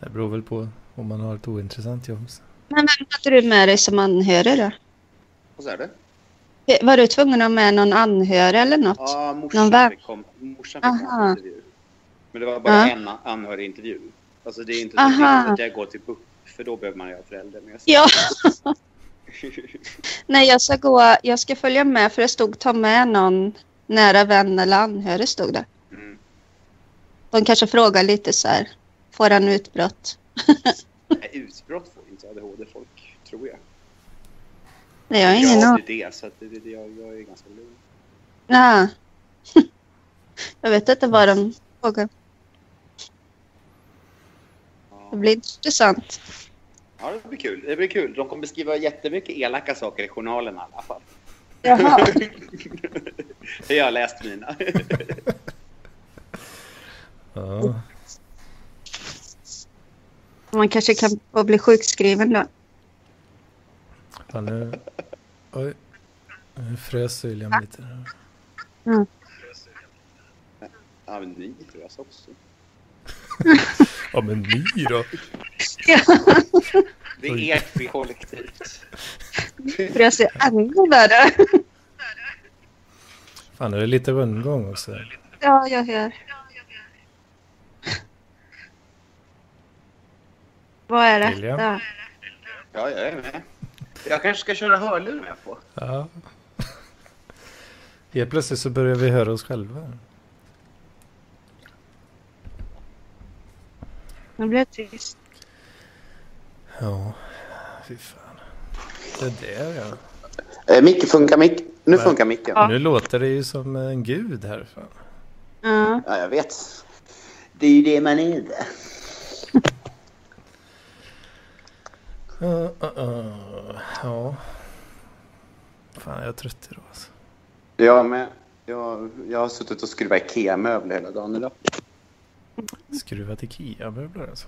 Speaker 2: Det beror väl på om man har ett ointressant jobb.
Speaker 1: men vem hade du med dig som anhörig då? Eh,
Speaker 4: Vad sa du?
Speaker 1: Var du tvungen att ha med någon anhörig eller något?
Speaker 4: Ja,
Speaker 1: Någon
Speaker 4: morsan
Speaker 1: vän?
Speaker 4: fick komma morsan fick komma på
Speaker 1: Aha.
Speaker 4: intervju. Men det var bara
Speaker 1: Ja.
Speaker 4: en anhörigintervju. Alltså det är inte så
Speaker 1: Aha.
Speaker 4: det är inte att jag går till BUP, för då behöver man ju ha föräldrar med sig.
Speaker 1: Ja. Nej, jag ska, gå, jag ska följa med för det stod ta med någon nära vän eller anhörig stod det.
Speaker 4: Mm.
Speaker 1: De kanske frågar lite så här, får han utbrott?
Speaker 4: Nej, Utbrott får inte ADHD-folk, tror jag.
Speaker 1: Nej, jag har ingen
Speaker 4: jag
Speaker 1: aning.
Speaker 4: har det, så att det, det, jag, jag är ganska lugn.
Speaker 1: Ja. Jag vet inte vad de frågar. Det
Speaker 4: Ja.
Speaker 1: blir intressant.
Speaker 4: ja, det blir kul. Det blir kul. De kommer beskriva jättemycket elaka saker i journalen i alla fall.
Speaker 1: Jaha.
Speaker 4: jag har läst mina.
Speaker 2: Ja.
Speaker 1: Man kanske kan få bli sjukskriven då.
Speaker 2: Fan, nu... Oj. Nu frös William lite. där.
Speaker 4: ja, men ni tror jag också.
Speaker 2: Ja, men ni då?
Speaker 4: Det är ert fel kollektivt.
Speaker 1: För jag ser ännu värre.
Speaker 2: Fan, det är lite rundgång också.
Speaker 1: Ja, jag hör. Vad är det?
Speaker 2: William?
Speaker 1: Ja.
Speaker 4: Ja, jag är med. Jag kanske ska köra hörlurar med på.
Speaker 2: Ja. Helt plötsligt så börjar vi höra oss själva.
Speaker 1: Nu blev det tyst.
Speaker 2: Ja, fy fan. Det där ja.
Speaker 4: Eh, Micke, funkar mick? Nu
Speaker 2: Nej.
Speaker 4: funkar micken.
Speaker 1: Ja.
Speaker 2: Nu låter det ju som en gud här. Fan.
Speaker 1: Ja.
Speaker 4: Ja, jag vet. Det är ju det man är.
Speaker 2: Uh, uh, uh. Ja. Fan, jag är trött idag alltså.
Speaker 4: Jag med. Jag, jag har suttit och skruvat IKEA-möbler hela dagen idag.
Speaker 2: Skruvat IKEA-möbler alltså.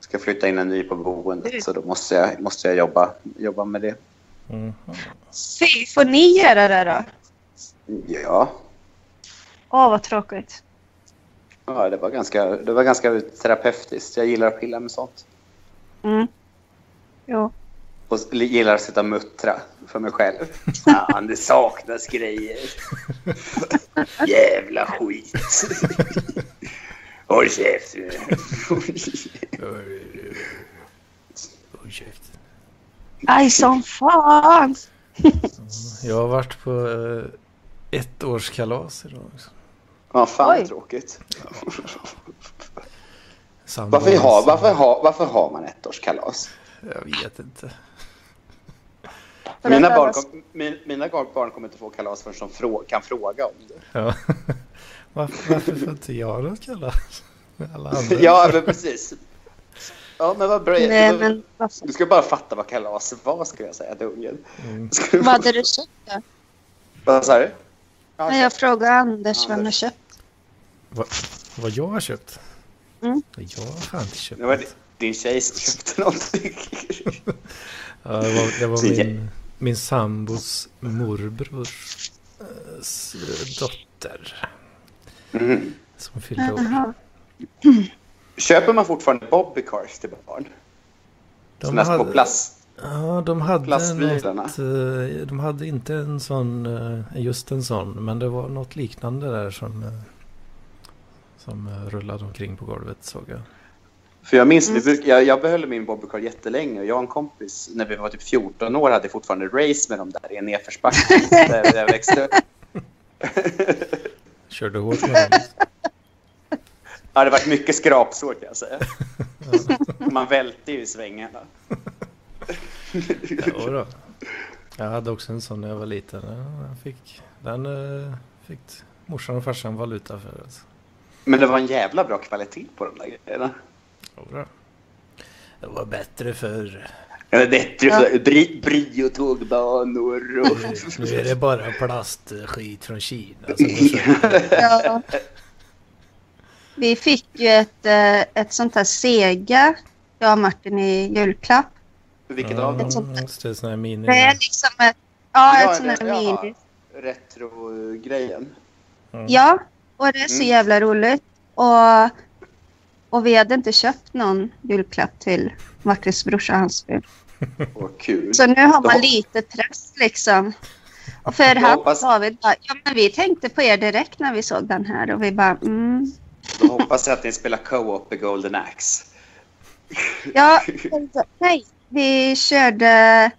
Speaker 4: Ska flytta in en ny på
Speaker 1: Mm.
Speaker 4: boendet så då måste jag, måste jag jobba, jobba med det.
Speaker 2: Mhm.
Speaker 1: Fy, får ni göra det då?
Speaker 4: Ja,
Speaker 1: Åh, vad tråkigt.
Speaker 4: ja det, var ganska, det var ganska terapeutiskt. Jag gillar att pilla med sånt.
Speaker 1: Mm. Jo.
Speaker 4: Och s- gillar att sitta och muttra för mig själv. Fan, det saknas grejer. Jävla skit. Håll käften.
Speaker 2: Oj, käft.
Speaker 1: Aj, som fan!
Speaker 2: Jag har varit på eh, ett års kalas idag. liksom. Också.
Speaker 4: Vad fan
Speaker 1: Oj.
Speaker 4: vad tråkigt.
Speaker 2: Sambon,
Speaker 4: Varför har, varför, har, varför har man ettårskalas?
Speaker 2: Jag vet inte.
Speaker 1: För
Speaker 4: Mina
Speaker 1: att
Speaker 4: barn,
Speaker 1: alla-
Speaker 4: kom, min, mina gar- barn kommer inte få kalas förrän de frå, kan fråga om det.
Speaker 2: Ja. Varför, varför får inte jag något kalas? Alla andra.
Speaker 4: Ja, men precis. Ja, men vad bra.
Speaker 1: Nej, men vad fan.
Speaker 4: Du ska bara fatta vad kalas var, skulle jag säga till ungen.
Speaker 2: Mm.
Speaker 4: Ska du-
Speaker 1: Vad hade du köpt då?
Speaker 4: Vad sa du?
Speaker 1: Nej, Jag frågade Anders vad han har
Speaker 4: Anders.
Speaker 1: köpt.
Speaker 2: Vad, vad jag har köpt?
Speaker 1: Mm.
Speaker 2: Jag har fan inte köpt
Speaker 4: Det var
Speaker 2: något.
Speaker 4: din tjej som köpte någonting.
Speaker 2: Ja, det var, det var
Speaker 4: Så jä-
Speaker 2: min, min sambos morbrors eh, s- dotter
Speaker 4: Mm.
Speaker 2: som fyllde år.
Speaker 1: Jaha.
Speaker 4: Köper man fortfarande bobbycars till barn?
Speaker 2: De
Speaker 4: Såna här små
Speaker 2: hade,
Speaker 4: plast...
Speaker 2: ja, de hade
Speaker 4: plastbilarna.
Speaker 2: något, eh, de hade inte en sån, eh, just en sån, men det var något liknande där som, eh, som eh, rullade omkring på golvet såg jag.
Speaker 4: För jag minns, vi
Speaker 1: Mm.
Speaker 4: bruk, jag, jag behöll min bobbycar jättelänge och jag och en kompis när vi var typ 14 år hade fortfarande race med dem där i en nedförsbacke där jag växte upp.
Speaker 2: Körde hårt med den.
Speaker 4: Det hade varit mycket skrapsår kan jag säga. Man välte ju i svängarna.
Speaker 2: Ja, då. Jag hade också en sån när jag var liten. Ja, Den fick, den eh, fick morsan och farsan valuta för. Alltså.
Speaker 4: Men det var en jävla bra kvalitet på de där grejerna.
Speaker 2: Ja, då. Det var bättre förr.
Speaker 4: Eller bättre för bri, brio-tågbanor och...
Speaker 2: Nu är det bara plastskit från Kina. Som de köper.
Speaker 1: Ja. Vi fick ju ett, eh, ett sånt här Sega, jag och Martin, i julklapp.
Speaker 4: Vilket
Speaker 2: Ja,
Speaker 4: av dem?
Speaker 2: Just det, sån här mini.
Speaker 1: Det är liksom ett, ja, ett sånt här
Speaker 4: ja, Mm.
Speaker 1: mini.
Speaker 4: Retro-grejen.
Speaker 1: Ja, och det är så jävla roligt. Och, och vi hade inte köpt någon julklapp till Martins brorsa och hans fru.
Speaker 4: Och kul.
Speaker 1: Så nu har
Speaker 4: Då-
Speaker 1: man lite press liksom. Och för
Speaker 4: Då
Speaker 1: han
Speaker 4: hoppas-
Speaker 1: sa vi bara, ja men vi tänkte på er direkt när vi såg den här och vi bara, mm.
Speaker 4: Då hoppas jag att ni spelar co-op i Golden Axe.
Speaker 1: Ja, nej, vi körde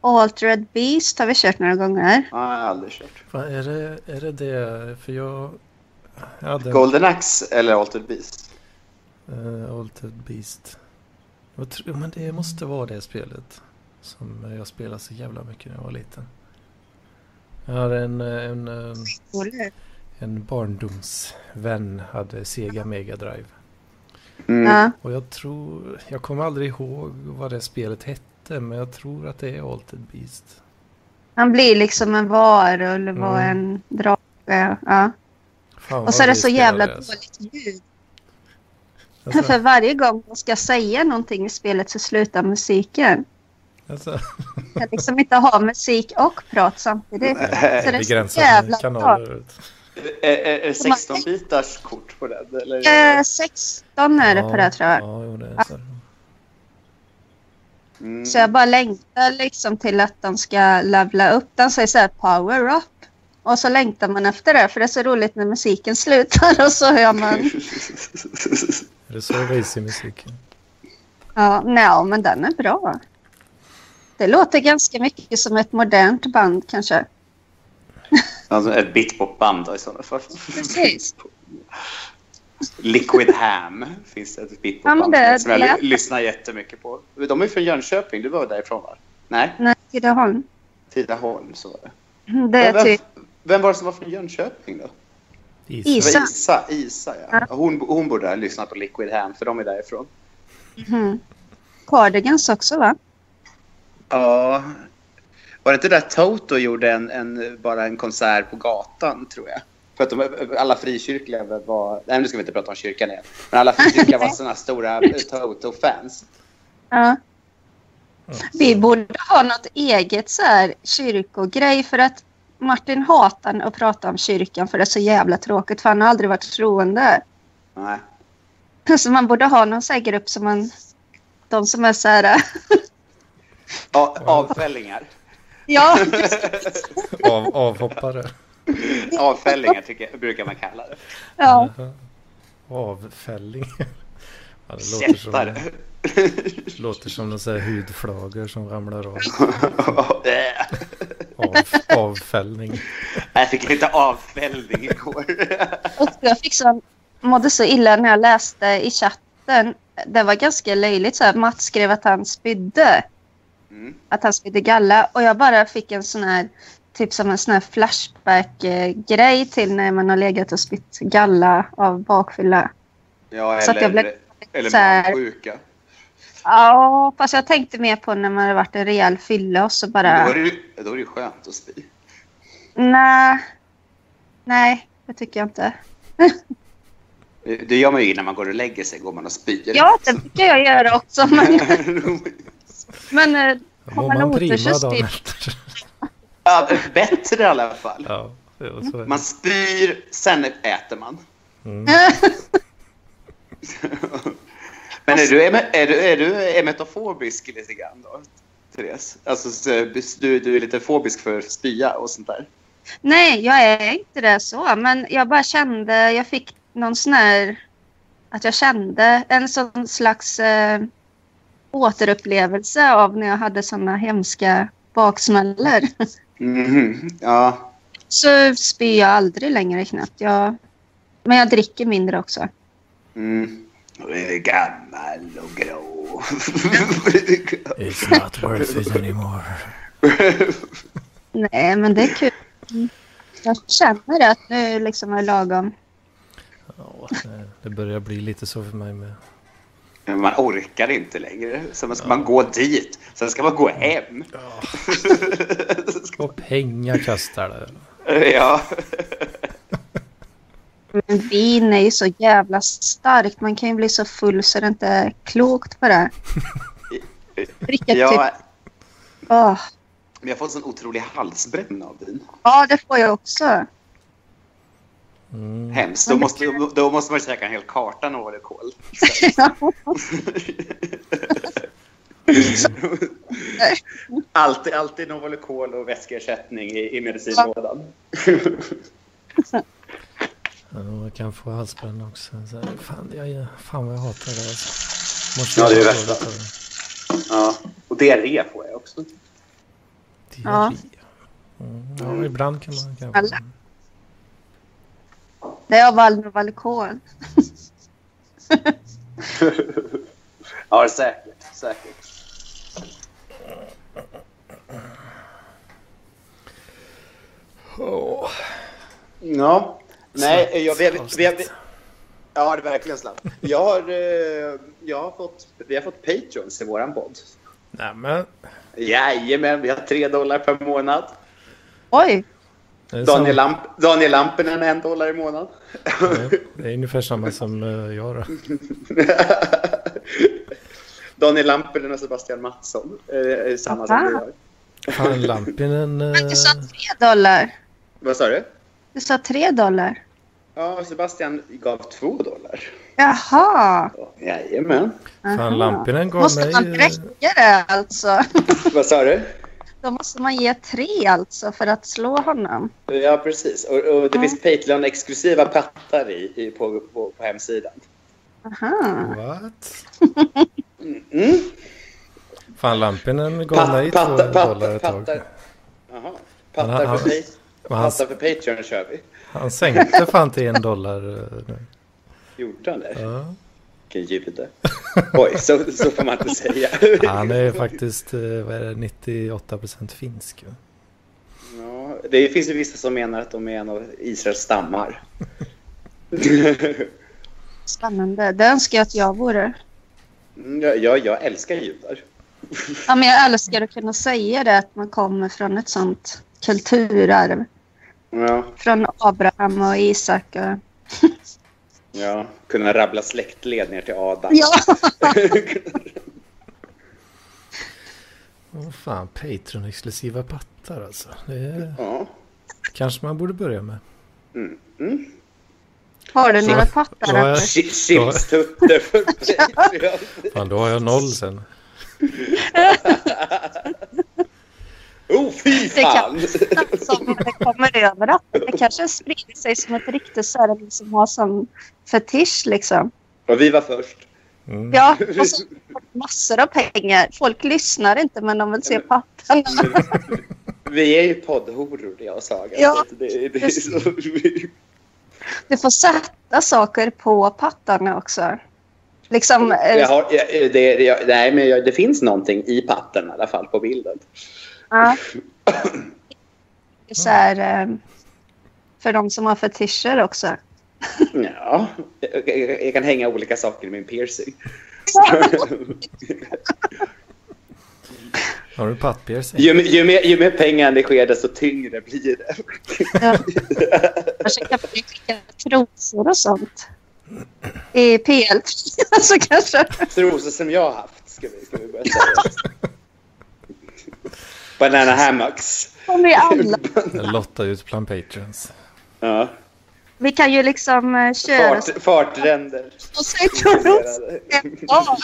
Speaker 1: Altered Beast har vi kört några gånger.
Speaker 4: Ja, jag har aldrig kört.
Speaker 2: Fan, är, det, är det det? För jag... Jag hade en
Speaker 4: Golden Axe eller Altered Beast?
Speaker 2: eh, Altered Beast. Jag tror, men det måste vara det spelet. Som jag spelade så jävla mycket när jag var liten. Jag hade en, eh, en, eh, en barndomsvän hade Sega Mega Drive.
Speaker 4: Eh,
Speaker 1: Ja,
Speaker 2: Och jag tror, jag kommer aldrig ihåg vad det spelet hette, men jag tror att det är Altered Beast.
Speaker 1: han blir liksom en varulv och
Speaker 2: Mm.
Speaker 1: en drake. Ja.
Speaker 2: Fan, vad
Speaker 1: Och så är det
Speaker 2: vi
Speaker 1: så jävla
Speaker 2: spelade, alltså.
Speaker 1: dåligt ljud.
Speaker 2: Alltså,
Speaker 1: För varje gång man ska säga någonting i spelet så slutar musiken.
Speaker 2: alltså,
Speaker 1: Man kan liksom inte ha musik och prat samtidigt.
Speaker 4: eh,
Speaker 1: Så det är så
Speaker 2: begränsade
Speaker 1: jävla bra.
Speaker 2: kanaler.
Speaker 4: Är, är, är 16-bitars eh, kort på den? Eller?
Speaker 1: Eh, 16 är det på det tror jag.
Speaker 2: Ja, jo, det är så.
Speaker 4: Mm.
Speaker 1: Så jag bara längtar liksom till att de ska levla upp. De säger så här power up. Och så längtar man efter det för det är så roligt när musiken slutar och så hör man.
Speaker 2: Är det så racingmusiken?
Speaker 1: Ja, nej, men den är bra. Det låter ganska mycket som ett modernt band kanske.
Speaker 4: Alltså, ett bitpopband då i sådana fall.
Speaker 1: Precis.
Speaker 4: Liquid Ham finns det ett
Speaker 1: Ja, men
Speaker 4: bitpopband
Speaker 1: det-
Speaker 4: som jag
Speaker 1: det-
Speaker 4: ly- lyssnar jättemycket på. De är från Jönköping, du var därifrån va? Nej,
Speaker 1: Nej, Tidaholm.
Speaker 4: Tidaholm så var det.
Speaker 1: Det är
Speaker 4: Men
Speaker 1: typ...
Speaker 4: vem, vem var det som var från Jönköping då?
Speaker 1: Is.
Speaker 4: Det
Speaker 1: Isa.
Speaker 4: var Isa, Isa ja. Hon, hon borde ha lyssnat på Liquid Ham för de är därifrån.
Speaker 1: mhm. Cardigans också va?
Speaker 4: Ja. Var det inte där Toto gjorde en, en, bara en konsert på gatan, tror jag? För att de, alla frikyrkliga var... Nej, nu ska vi inte prata om kyrkan igen. Men alla frikyrkliga var såna stora eh, Toto-fans.
Speaker 1: Ja. Vi borde ha något eget så här kyrkogrej för att Martin hatar att prata om kyrkan för det är så jävla tråkigt för han har aldrig varit troende.
Speaker 4: Nej.
Speaker 1: Så man borde ha någon så här grupp som man, de som är så här,
Speaker 4: A, avfällingar.
Speaker 1: ja,
Speaker 2: Av, avhoppare.
Speaker 4: Avfällingar tycker jag, brukar man kalla det.
Speaker 1: ja,
Speaker 2: Jaha. Avfälling. Ja, det låter som,
Speaker 4: Kättare.
Speaker 2: låter som någon sån här hudflagor som ramlar av.
Speaker 4: Eh,
Speaker 2: av avfällning.
Speaker 4: jag fick lite avfällning igår.
Speaker 1: och jag fick så, mådde så illa när jag läste i chatten. Det var ganska löjligt. Så här, Mats skrev att han spydde.
Speaker 4: Mm.
Speaker 1: Att han spydde galla. Och jag bara fick en sån här, typ som en sån här flashback-grej till när man har legat och spytt galla av bakfylla.
Speaker 4: Ja,
Speaker 1: Så att jag
Speaker 4: eller,
Speaker 1: blev-
Speaker 4: eller
Speaker 1: så här-
Speaker 4: magsjuka.
Speaker 1: Ja, fast jag tänkte mer på när man hade varit en rejäl fylla och så
Speaker 4: Men Då
Speaker 1: bara...
Speaker 4: är det ju- då är det ju skönt att spy.
Speaker 1: Nej, nej, det tycker jag inte.
Speaker 4: Det det gör man ju innan man går och lägger sig, går man och spyr.
Speaker 1: Ja, det brukar jag göra också. Men, men eh, har
Speaker 2: Mår
Speaker 1: man
Speaker 2: man
Speaker 1: otur så
Speaker 2: prima dagen
Speaker 1: spyr
Speaker 2: efter?
Speaker 4: ja, bättre i alla fall.
Speaker 2: Ja, ja, så är
Speaker 4: Man
Speaker 2: det.
Speaker 4: spyr, sen äter man.
Speaker 2: Mm.
Speaker 1: eh,
Speaker 4: Men är
Speaker 1: Alltså-
Speaker 4: du, eme- är du, är du emetofobisk lite grann då, Therese? Alltså, så du, du är lite fobisk för spya och sånt där?
Speaker 1: Nej, jag är inte det så. Men jag bara kände, jag fick någon sån här, att jag kände en sån slags eh, återupplevelse av när jag hade såna hemska baksmällor.
Speaker 4: Mhm, Ja.
Speaker 1: så spyr jag aldrig längre knappt. Jag, men jag dricker mindre också.
Speaker 4: Mm. Jag är Gammal och grå.
Speaker 2: It's not worth it anymore.
Speaker 1: Nej, men det är kul. Mm. Jag känner att nu liksom är lagom.
Speaker 2: Ja, det- det börjar bli lite så för mig med.
Speaker 4: Men man orkar inte längre. Sen ska man gå dit. Sen ska man gå hem.
Speaker 2: Och pengar kastar det.
Speaker 4: ja.
Speaker 1: Men vin är ju så jävla starkt. Man kan ju bli så full så det inte är klokt på det. Dricka
Speaker 4: ja.
Speaker 1: typ... Åh.
Speaker 4: Men jag har fått sån otrolig halsbränna av vin.
Speaker 1: Ja, det får jag också.
Speaker 2: Mm.
Speaker 4: Hemskt. Då måste, då måste man käka en hel karta Novalucol. alltid, alltid Novalucol och vätskeersättning i, i medicinlådan.
Speaker 2: Ja, jag kan få halsbränna också. Så, här, fan, jag, fan vad jag hatar det. Alltså. Måste
Speaker 4: Ja, det är
Speaker 2: jag
Speaker 4: värsta.
Speaker 2: ta
Speaker 4: Ja. Och diarré får jag också.
Speaker 1: Ja.
Speaker 2: Mm, ja, ibland kan man kanske.
Speaker 1: Alla. Det är av Alnovalecol.
Speaker 4: Ja, säkert. säkert.
Speaker 2: Åh,
Speaker 4: Ja. Nej, jag, vi, vi, vi,
Speaker 2: avsnitt.
Speaker 4: vi, ja, det är verkligen slappt. Jag har, eh, jag har fått, vi har fått patrons till våran podd.
Speaker 2: Nämen.
Speaker 4: Jajamän, vi har tre dollar per månad.
Speaker 2: Eh.
Speaker 1: Oj!
Speaker 2: Det är,
Speaker 4: Daniel,
Speaker 2: samma,
Speaker 4: Lamp, Daniel Lampinen en dollar i månad.
Speaker 2: det är ungefär samma som eh, jag då.
Speaker 4: Daniel Lampinen och Sebastian Mattsson. eh, är samma som du har.
Speaker 2: Fan, Lampinen... eh,
Speaker 1: Du sa tre dollar.
Speaker 4: Vad sa du?
Speaker 1: Du sa tre dollar.
Speaker 4: Ja, Sebastian gav två dollar.
Speaker 1: Jaha.
Speaker 4: Jajamän.
Speaker 1: Aha.
Speaker 2: eh, Fan, Lampinen gav
Speaker 1: Måste
Speaker 2: mig...
Speaker 1: man
Speaker 2: eh,
Speaker 1: bräcka det alltså?
Speaker 4: Vad sa du?
Speaker 1: Då måste man ge tre alltså för att slå honom.
Speaker 4: Ja, precis. Och, och det
Speaker 1: Ja.
Speaker 4: finns Patreon-exklusiva pattar i, i, på, på, på hemsidan.
Speaker 1: Aha.
Speaker 2: What?
Speaker 4: Mm.
Speaker 2: Fan, Lampinen gav
Speaker 4: Pat-
Speaker 2: mig två
Speaker 4: patta-
Speaker 2: dollar
Speaker 4: patta-
Speaker 2: ett tag.
Speaker 4: pattar. Jaha.
Speaker 2: Men
Speaker 4: Pattar
Speaker 2: han-
Speaker 4: för, pay,
Speaker 2: Men han,
Speaker 4: pattar för Patreon kör vi.
Speaker 2: han sänkte fan till en dollar eh, nu.
Speaker 4: Gjorde han det?
Speaker 2: Ja.
Speaker 4: Vilken jute. Oj, så, så får man inte säga.
Speaker 2: Han är faktiskt eh, vad är det, 98% finsk. va?
Speaker 4: Ja, det finns ju vissa som menar att de är en av Israels stammar.
Speaker 1: Spännande. Det önskar jag att jag vore.
Speaker 4: Mm, Ja, jag, jag älskar judar.
Speaker 1: Ja, men jag älskar att kunna säga det, att man kommer från ett sånt kulturarv.
Speaker 4: Ja,
Speaker 1: Från Abraham och Isak. Och...
Speaker 4: ja. Kunna rabbla släktled ner till Adam.
Speaker 1: Ja.
Speaker 2: Åh fan, Patreon-exklusiva pattar alltså. Det är,
Speaker 4: Ja.
Speaker 2: kanske man borde börja med.
Speaker 4: Mm. Mm.
Speaker 1: Har du
Speaker 2: Så-
Speaker 1: några
Speaker 2: så har jag-
Speaker 1: pattar?
Speaker 4: Chi- Chipstutter för Patreon.
Speaker 2: Fan, då har jag noll sen.
Speaker 4: Oh, fy
Speaker 1: Det
Speaker 4: fan!
Speaker 1: kan- Som det kommer över att det kanske sprider sig som ett rykte så är det liksom ha som fetisch liksom.
Speaker 4: Och vi var först.
Speaker 2: Mm.
Speaker 1: Ja, och så får de massor av pengar. Folk lyssnar inte men de vill se pattarna.
Speaker 4: Vi är ju poddhoror, jag och Saga.
Speaker 1: Ja,
Speaker 4: Så att det, det är så...
Speaker 1: Du får sätta saker på pattarna också. Liksom, eh,
Speaker 4: jag har, jag, det, jag, nej, men jag, det finns någonting i patten i alla fall på bilden.
Speaker 1: Ja. Så här, eh, för de som har fetischer också.
Speaker 4: Ja, jag, jag, jag kan hänga olika saker i min piercing.
Speaker 2: Har du pattpiercing?
Speaker 4: Ju, ju, mer, ju mer pengar det sker, desto tyngre blir det.
Speaker 1: Ja. Kanske kan vi skicka trosor och sånt. I PL. Alltså kanske.
Speaker 4: Trosor som jag har haft, ska vi, ska vi börja säga. Banana hammocks.
Speaker 1: Kommer vi alla.
Speaker 2: Jag lottar ut bland patrons.
Speaker 4: Ja.
Speaker 1: Vi kan ju liksom eh, köra så-
Speaker 4: Fart, fartränder.
Speaker 1: och sen trosor. Ja,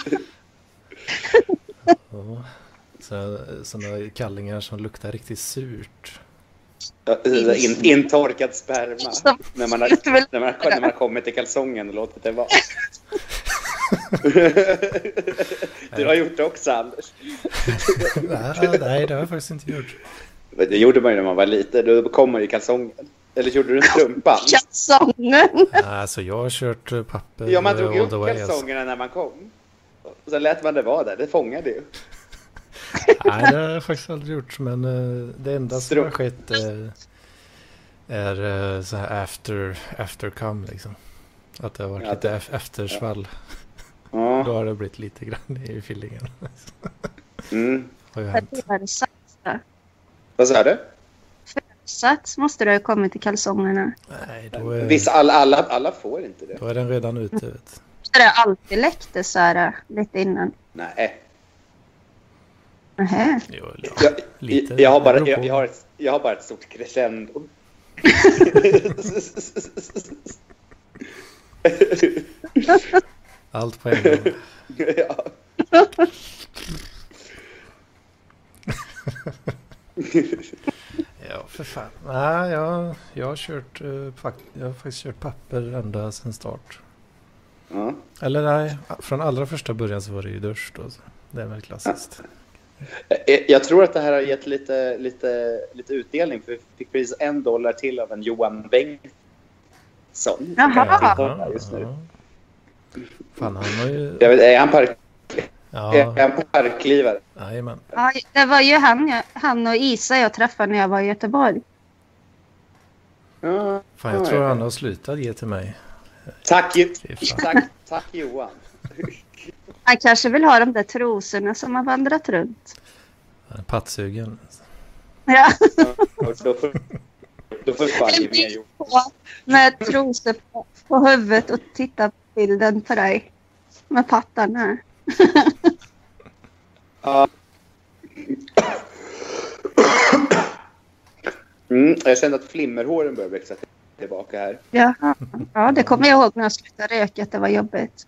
Speaker 2: Ja. Sådana kallingar som luktar riktigt surt.
Speaker 4: Ja, In, intorkad sperma.
Speaker 1: som-
Speaker 4: När man, har,
Speaker 1: Jag vill-
Speaker 4: när, man har, när man har kommit till kalsongen och låtit det vara. Du har gjort det också, Anders.
Speaker 2: Nej, nej, det har jag faktiskt inte gjort.
Speaker 4: Det gjorde man ju när man var liten. Då kom man ju i kalsongen. Eller gjorde du strumpan?
Speaker 1: Kalsongen!
Speaker 2: Alltså jag har kört eh, papper
Speaker 4: Ja, man drog
Speaker 2: eh, all
Speaker 4: upp
Speaker 2: the way. Alltså.
Speaker 4: kalsongerna när man kom. Och sen lät man det vara där. Det fångade ju.
Speaker 2: Nej, det har jag faktiskt aldrig gjort. Men eh, det enda som
Speaker 4: Strump.
Speaker 2: har skett eh, är eh, så här after, after come liksom. Att det har varit
Speaker 4: Ja,
Speaker 2: lite ef- eftersvall. Då
Speaker 4: Ja.
Speaker 2: har det blivit lite grann i fyllingen.
Speaker 4: Mm.
Speaker 2: Har ju hänt.
Speaker 1: Födelsedagssax då.
Speaker 4: Vad sa du?
Speaker 1: Sats måste det ha kommit i kalsongerna.
Speaker 2: Nej, då är,
Speaker 4: Vissa, alla, alla, alla får inte det.
Speaker 2: då är den redan ute. Vet.
Speaker 1: Så det har alltid läckte så här eh, lite innan.
Speaker 4: Nej.
Speaker 1: Nähä.
Speaker 2: Jo, eller ja.
Speaker 4: Jag,
Speaker 2: Lite.
Speaker 4: jag, jag, har,
Speaker 2: Det
Speaker 4: bara,
Speaker 2: beror på.
Speaker 4: jag, jag, har ett, jag har bara ett stort crescendo.
Speaker 2: Allt på en gång.
Speaker 4: ja.
Speaker 2: Ja, för fan. Nej, jag, jag, har kört, eh, fakt- jag har faktiskt kört papper ända sedan start.
Speaker 4: Ja.
Speaker 2: Eller nej, från allra första början så var det ju dusch då. så Det är väl klassiskt.
Speaker 4: Jag- Eh, Jag tror att det här har gett lite, lite, lite utdelning. För vi fick precis en dollar till av en Johan Bengtsson.
Speaker 1: Jaha.
Speaker 4: Ja, just nu.
Speaker 2: Fan, han har ju...
Speaker 4: Jag vet, är han, park, är
Speaker 2: Ja,
Speaker 4: han parklivare?
Speaker 2: jajamän.
Speaker 1: Ja, det var ju han, jag, han och Isa jag träffade när jag var i Göteborg.
Speaker 4: Ja.
Speaker 2: Fan, jag tror han har slutat ge till mig.
Speaker 4: Tack, Ju-
Speaker 2: Fy fan.
Speaker 4: tack, tack Johan.
Speaker 1: Han kanske vill ha de där trosorna som har vandrat runt.
Speaker 2: Han är Pattsugen.
Speaker 1: Ja,
Speaker 4: Och Då får, då får fan ge mer Johan.
Speaker 1: på, med trosor på, på huvudet och titta på bilden på dig. Med pattarna.
Speaker 4: Mm, jag kände att flimmerhåren börjar växa tillbaka här.
Speaker 1: Jaha. Ja, det kommer jag ihåg när jag slutade röka att det var jobbigt.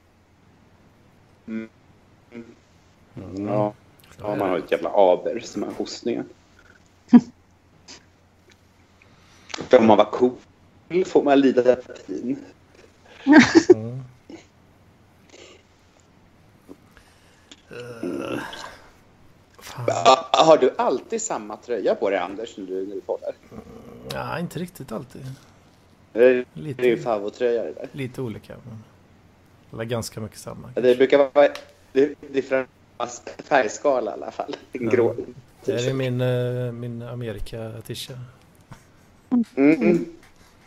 Speaker 4: Ja. Mm. ja, man har ett jävla aber som har hostningar. För om man var cool får man lite pin.
Speaker 2: Mm. Eh, Fan.
Speaker 4: Ah, Har du alltid samma tröja på dig, Anders, när du, när du poddar?
Speaker 2: Ja, inte riktigt alltid.
Speaker 4: Det är din
Speaker 2: Lite,
Speaker 4: favorittröja det där.
Speaker 2: lite olika. Men... Eller ganska mycket samma.
Speaker 4: Det brukar vara... Det, det är främst färgskala i alla fall. En grå.
Speaker 2: Det här är min, eh, min Amerika-tisha.
Speaker 4: Mm.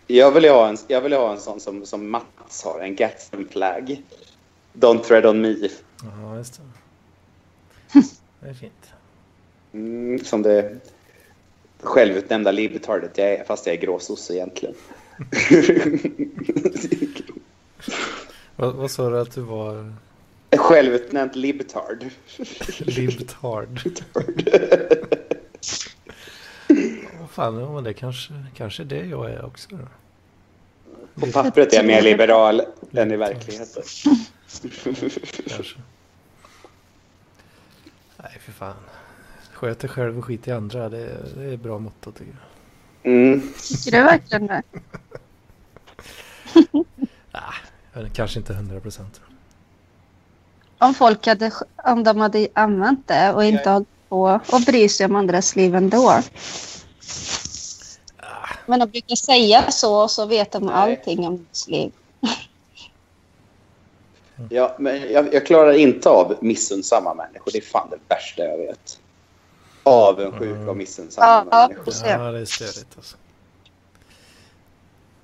Speaker 4: Jag vill ju ha en, jag vill ju ha en sån som, som Mats har, en Gatsby flag. Don't tread on me.
Speaker 2: Ja, just det. Det är fint.
Speaker 4: Mm, som det självutnämnda libertardet jag är, fast jag är gråsosse egentligen.
Speaker 2: Vad, vad sa du att du var?
Speaker 4: Självutnämnd libertard.
Speaker 2: Libtard. Vad fan, ja, men det kanske, kanske det jag är också. Då.
Speaker 4: På pappret är jag mer liberal än i verkligheten.
Speaker 2: Kanske. Nej, för fan. Sköt dig själv och skit i andra. Det, är- det är ett bra motto tycker jag.
Speaker 4: Mm.
Speaker 1: Tycker du verkligen det?
Speaker 2: Eller Kanske inte 100 procent.
Speaker 1: Om folk hade, om de hade använt det och inte
Speaker 4: Ja.
Speaker 1: hållit på och bryr sig om andras liv ändå. Men de brukar säga så och så vet de
Speaker 4: Nej.
Speaker 1: allting om ens liv.
Speaker 4: Ja, men jag, jag klarar inte av missunnsamma människor. Det är fan det värsta jag vet. Avundsjuka och missunnsamma
Speaker 1: Ja,
Speaker 4: människor.
Speaker 1: precis.
Speaker 2: Ja, det är störigt alltså.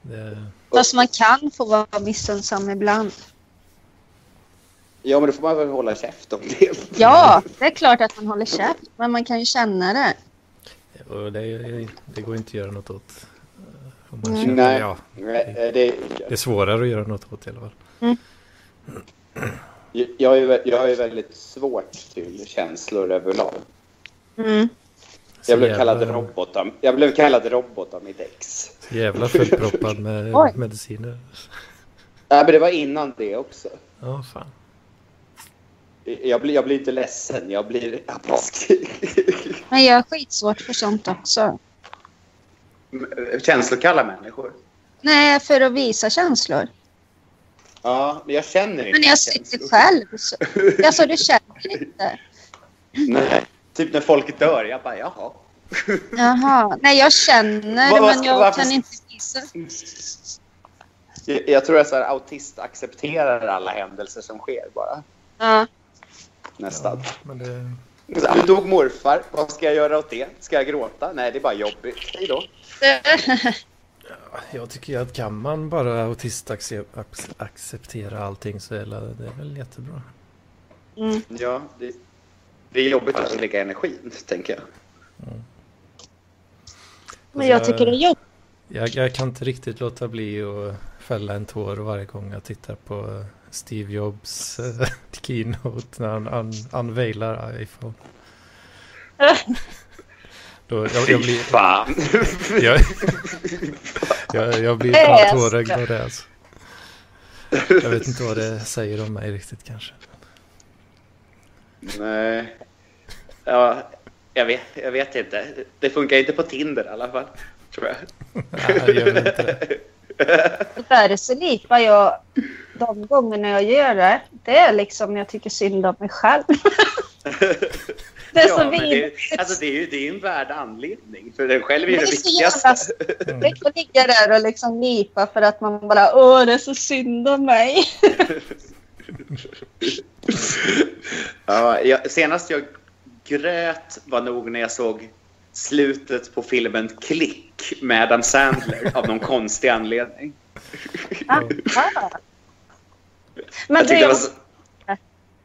Speaker 2: Det,
Speaker 1: Fast man kan få vara missunnsam ibland.
Speaker 4: Mm. Ja, men då får man väl hålla käft om det.
Speaker 1: Ja, det är klart att man håller käft, men man kan ju känna det.
Speaker 2: och det, är- det går inte att göra något åt. eh, Om man känner,
Speaker 4: Nej.
Speaker 2: Ja,
Speaker 4: Nej, eh, Det,
Speaker 2: det är svårare att göra något åt i alla fall.
Speaker 4: jag, är, vä- jag är väldigt svårt till känslor överlag.
Speaker 1: Mm.
Speaker 2: Så
Speaker 4: Jag blev
Speaker 2: jävla-
Speaker 4: kallad robot av, jag blev kallad robot av mitt ex.
Speaker 2: Jävla fullproppad med
Speaker 1: Oj.
Speaker 2: mediciner.
Speaker 4: Nej, men det var innan det också.
Speaker 2: Ja, fan.
Speaker 4: Jag blir, jag blir inte ledsen, jag blir apatisk.
Speaker 1: Men jag är skitsvårt för sånt också.
Speaker 4: Känslokalla människor.
Speaker 1: Nej, för att visa känslor.
Speaker 4: Ja, men jag känner inte
Speaker 1: Men jag sitter själv. Så. Alltså, du känner inte.
Speaker 4: Nej. Typ när folk dör, jag bara jaha.
Speaker 1: Jaha. Nej, jag känner
Speaker 4: Vad- vad
Speaker 1: men
Speaker 4: ska-
Speaker 1: jag
Speaker 4: varför-
Speaker 1: kan inte visa.
Speaker 4: Jag, jag tror att så här, autist accepterar alla händelser som sker bara.
Speaker 1: Ja.
Speaker 4: Nästan.
Speaker 2: Men det,
Speaker 4: Så här, Nu dog morfar. Vad ska jag göra åt det? Ska jag gråta? Nej, det är bara jobbigt. Hej då.
Speaker 2: jag tycker ju att kan man bara autist acce- ac- acceptera allting så är la- det är väl jättebra.
Speaker 1: Mm.
Speaker 4: Ja, det, det är jobbigt att lägga energin, tänker jag.
Speaker 1: Men jag tycker det är jobbigt.
Speaker 2: Jag, jag kan inte riktigt låta bli att fälla en tår varje gång jag tittar på Steve Jobs eh, keynote när han un unveilar iPhone. Då, jag, jag, blir,
Speaker 4: Fan!
Speaker 2: jag, jag, jag blir fan tårögd av det. Alltså. Jag vet inte vad det säger om mig riktigt kanske.
Speaker 4: Nej. Ja, jag vet, jag vet inte. Det funkar inte på Tinder i alla fall, tror jag.
Speaker 2: Nej, det gör väl inte det.
Speaker 1: Det där är så likt vad jag... De gångerna jag gör det, det är liksom när jag tycker synd om mig själv. Det är
Speaker 4: ja,
Speaker 1: så
Speaker 4: men det,
Speaker 1: vidrigt.
Speaker 4: alltså, det är ju det är en värd anledning, för den själv är ju
Speaker 1: Det
Speaker 4: det
Speaker 1: är så jävla
Speaker 4: viktigaste.
Speaker 1: störigt att ligga där och liksom lipa för att man bara åh det är så synd om mig.
Speaker 4: Ja, jag, senast jag grät var nog när jag såg slutet på filmen Klick med Adam Sandler av någon konstig anledning.
Speaker 1: Aha. Men
Speaker 4: jag
Speaker 1: du,
Speaker 4: tyckte det
Speaker 1: jag
Speaker 4: var...
Speaker 1: måste
Speaker 4: så-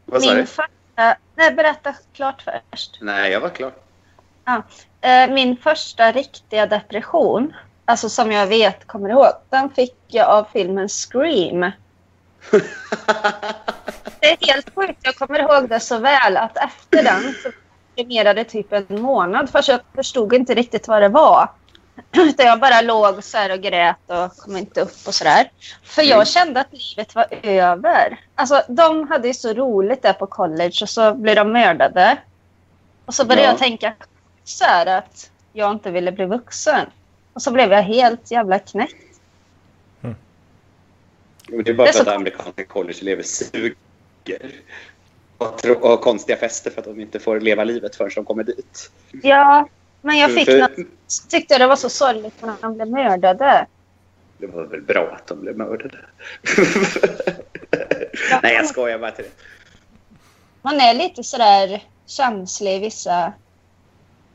Speaker 4: Vad sa du?
Speaker 1: min första... Nej, berätta klart först.
Speaker 4: Nej, jag var klar.
Speaker 1: Eh, Min första riktiga depression, alltså som jag vet kommer ihåg, den fick jag av filmen Scream. Det är helt sjukt, jag kommer ihåg det så väl att efter den så deprimerade typ en månad för jag förstod inte riktigt vad det var. Utan jag bara låg så här och grät och kom inte upp och sådär. För
Speaker 4: Mm.
Speaker 1: jag kände att livet var över. Alltså de hade ju så roligt där på college och så blev de mördade. Och så började
Speaker 4: Ja.
Speaker 1: jag tänka så här att jag inte ville bli vuxen. Och så blev jag helt jävla knäckt.
Speaker 4: Men Det är bara
Speaker 1: Det är
Speaker 4: för
Speaker 1: så-
Speaker 4: att amerikanska collegeelever suger. Och, tro, och har konstiga fester för att de inte får leva livet förrän de kommer dit.
Speaker 1: Ja, men jag fick
Speaker 4: För-
Speaker 1: något, tyckte jag det var så sorgligt när de blev mördade.
Speaker 4: Det var väl bra att de blev mördade. Nej, jag skojar bara till det.
Speaker 1: Man är lite sådär känslig vissa,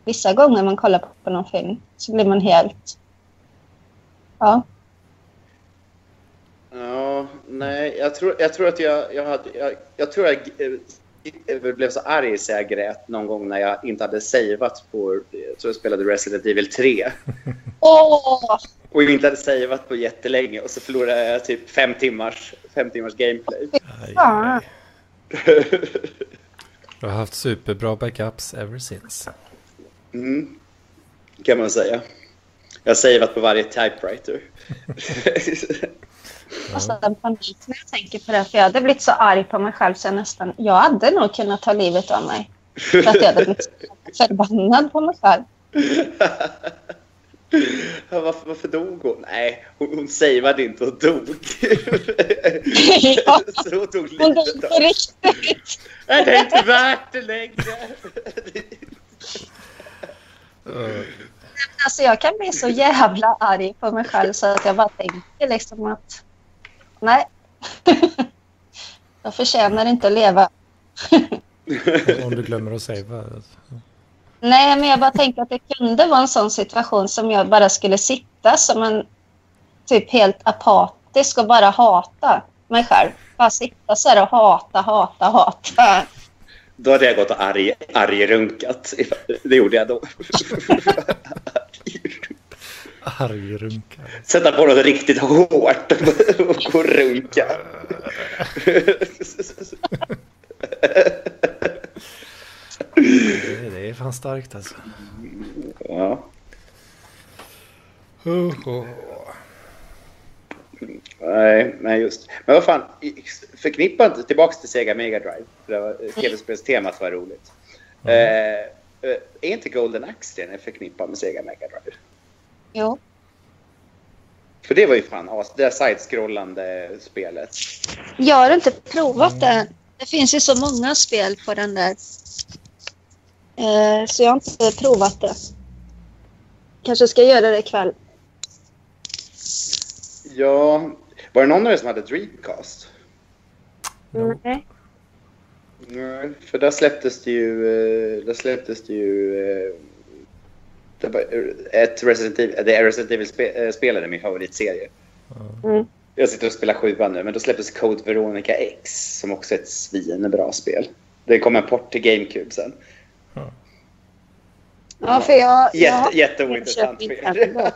Speaker 1: vissa gånger man kollar på, på någon film. Så blir man helt... Ja.
Speaker 4: Ja, nej, jag tror, jag tror att jag, jag hade, jag, jag tror jag eh, blev så arg så jag grät någon gång när jag inte hade savat på, jag tror jag spelade Resident Evil 3
Speaker 1: Åh!
Speaker 4: och inte hade savat på jättelänge och så förlorade jag typ fem timmars, fem timmars gameplay.
Speaker 2: Aj,
Speaker 1: Fan.
Speaker 2: aj. Jag har haft superbra backups ever since.
Speaker 4: Mm, kan man säga. Jag har savat på varje typewriter.
Speaker 1: Nästan panik när jag tänker på det. För jag hade blivit så arg på mig själv så jag nästan... Jag hade nog kunnat ta livet av mig. För att jag hade blivit så förbannad på mig själv.
Speaker 4: Ja, varför, varför dog hon? Nej, hon, hon savade inte och dog.
Speaker 1: Ja,
Speaker 4: så hon tog
Speaker 1: hon dog
Speaker 4: livet av
Speaker 1: på riktigt.
Speaker 4: Nej, Det är inte värt det längre.
Speaker 2: Eh,
Speaker 1: Alltså jag kan bli så jävla arg på mig själv så att jag bara tänker liksom att nej. jag förtjänar inte att leva.
Speaker 2: Om du glömmer att alltså. savea.
Speaker 1: Nej, men jag bara tänker att det kunde vara en sån situation som jag bara skulle sitta som en typ helt apatisk och bara hata mig själv. Bara sitta så här och hata, hata, hata.
Speaker 4: Då hade jag gått och arg, argrunkat. Det gjorde jag då.
Speaker 2: Argrunka.
Speaker 4: Sätta på något riktigt hårt och gå och runka.
Speaker 2: Det, det är fan starkt alltså.
Speaker 4: Ja.
Speaker 2: Oh, oh.
Speaker 4: Nej, nej just. Men vad fan, förknippat tillbaks till Sega Mega Drive. för det var- Tv-spelstemat var roligt. Eh, eh, är inte Golden Axe den är förknippad med Sega Mega Drive?
Speaker 1: Jo.
Speaker 4: För det var ju fan as, det där sidescrollande spelet.
Speaker 1: Jag har inte provat det. Det finns ju så många spel på den där. Eh, så jag har inte provat det. Kanske ska göra det ikväll.
Speaker 4: Ja, var det någon av er som hade Dreamcast?
Speaker 2: No.
Speaker 1: Nej.
Speaker 4: Nej, för där släpptes det ju... eh, Där släpptes det ju... eh, Det var eh, ett Resident Evil, det är Resident Evil-spelare min favoritserie.
Speaker 1: Mm.
Speaker 4: Jag sitter och spelar sjuan nu, men då släpptes Code Veronica X som också är ett svinbra spel. Det kom en port till GameCube sen.
Speaker 1: Ja, för jag...
Speaker 4: Jätte,
Speaker 1: jag-
Speaker 4: jätteointressant
Speaker 1: jag köper
Speaker 4: spel.
Speaker 1: inte heller.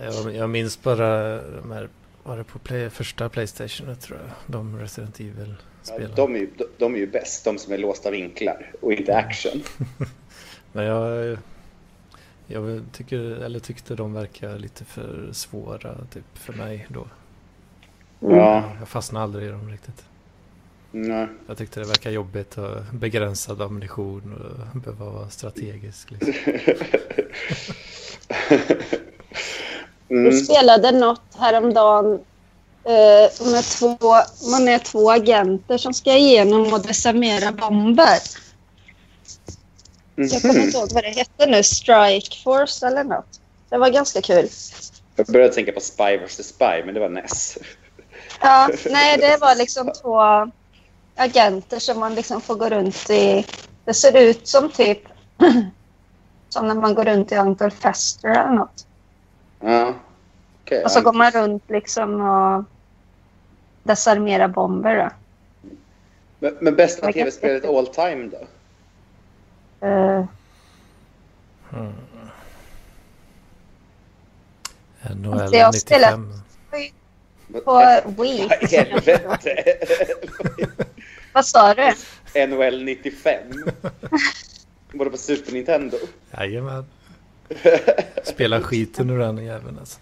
Speaker 2: Jag, jag minns bara de här, var det på play, första Playstation tror jag, de Resident
Speaker 4: Ja,
Speaker 2: Evil-spelen.
Speaker 4: de, är ju, de, de är ju bäst, de som är låsta vinklar och inte action.
Speaker 2: Men jag, jag tycker, eller tyckte de verkar lite för svåra typ, för mig då.
Speaker 1: Mm.
Speaker 4: Ja,
Speaker 2: Jag fastnade aldrig i dem riktigt.
Speaker 4: nej.
Speaker 2: Jag tyckte det verkar jobbigt att begränsad ammunition och behöva vara strategisk. Liksom.
Speaker 1: Vi
Speaker 4: Mm.
Speaker 1: spelade något häromdagen eh, med två, man är två agenter som ska igenom och desarmera bomber. Jag kommer
Speaker 4: Mhm.
Speaker 1: inte ihåg vad det hette nu, Strike Force eller något. Det var ganska kul.
Speaker 4: Jag började tänka på Spy vs Spy, men det var NES.
Speaker 1: Ja, nej, det var liksom två agenter som man liksom får gå runt i. Det ser ut som typ som när man går runt i Uncle Fester eller något.
Speaker 4: Ja. Okej.
Speaker 1: Och så går man runt liksom och desarmerar bomber. Då.
Speaker 4: men, men bästa tv-spelet all time då?
Speaker 1: Eh,
Speaker 2: NHL
Speaker 1: Det jag
Speaker 2: 95.
Speaker 1: på Wii.
Speaker 4: Vad i helvete?
Speaker 1: Vad sa du?
Speaker 4: NHL 95? Både på Super Nintendo?
Speaker 2: Jajamän. Spela skiten ur den jäveln alltså.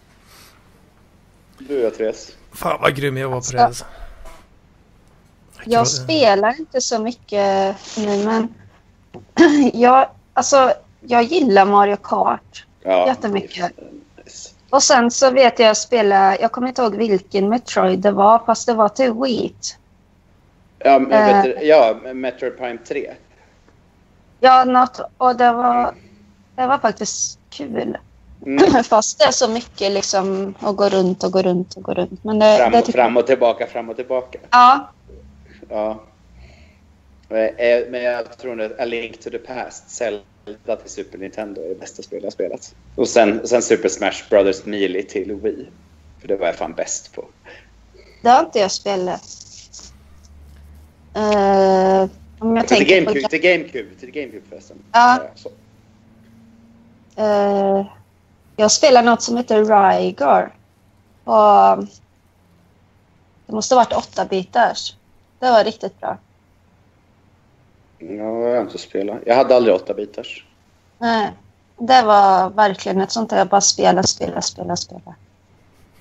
Speaker 4: Du jag Therese.
Speaker 2: Fan vad grym jag var på alltså. det. Alltså.
Speaker 1: Jag spelar inte så mycket nu, men jag, alltså, jag gillar Mario Kart.
Speaker 4: Ja,
Speaker 1: Jättemycket.
Speaker 4: nice.
Speaker 1: Och sen så vet jag spela, jag kommer inte ihåg vilken Metroid det var, fast det var till Wheat.
Speaker 4: Ja, men,
Speaker 1: Eh.
Speaker 4: vet du, ja, Metroid Prime 3.
Speaker 1: Ja, något, och det var, det var faktiskt kul.
Speaker 4: Mm.
Speaker 1: Fast det är så mycket liksom att gå runt och gå runt och gå runt. Men det,
Speaker 4: Fram
Speaker 1: Eh, det
Speaker 4: och,
Speaker 1: tycker-
Speaker 4: fram och tillbaka, fram och tillbaka.
Speaker 1: Ja,
Speaker 4: Ja. Eh, Men jag tror nog att A Link to the Past, Zelda till Super Nintendo är det bästa spel jag spelat. Och sen, sen Super Smash Brothers Melee till Wii. För det var jag fan bäst på.
Speaker 1: det har inte jag spelat. Eh, om jag
Speaker 4: Till
Speaker 1: tänker på...
Speaker 4: GameCube, till GameCube, till GameCube förresten.
Speaker 1: Ja.
Speaker 4: Eh, så.
Speaker 1: Eh, jag spelar något som heter Rygar. Och det måste ha varit åtta bitars. Det var riktigt bra.
Speaker 4: Ja, jag har inte spelat. Jag hade aldrig åtta bitars.
Speaker 1: Nej, det var verkligen ett sånt där jag bara spela, spela, spela, spela.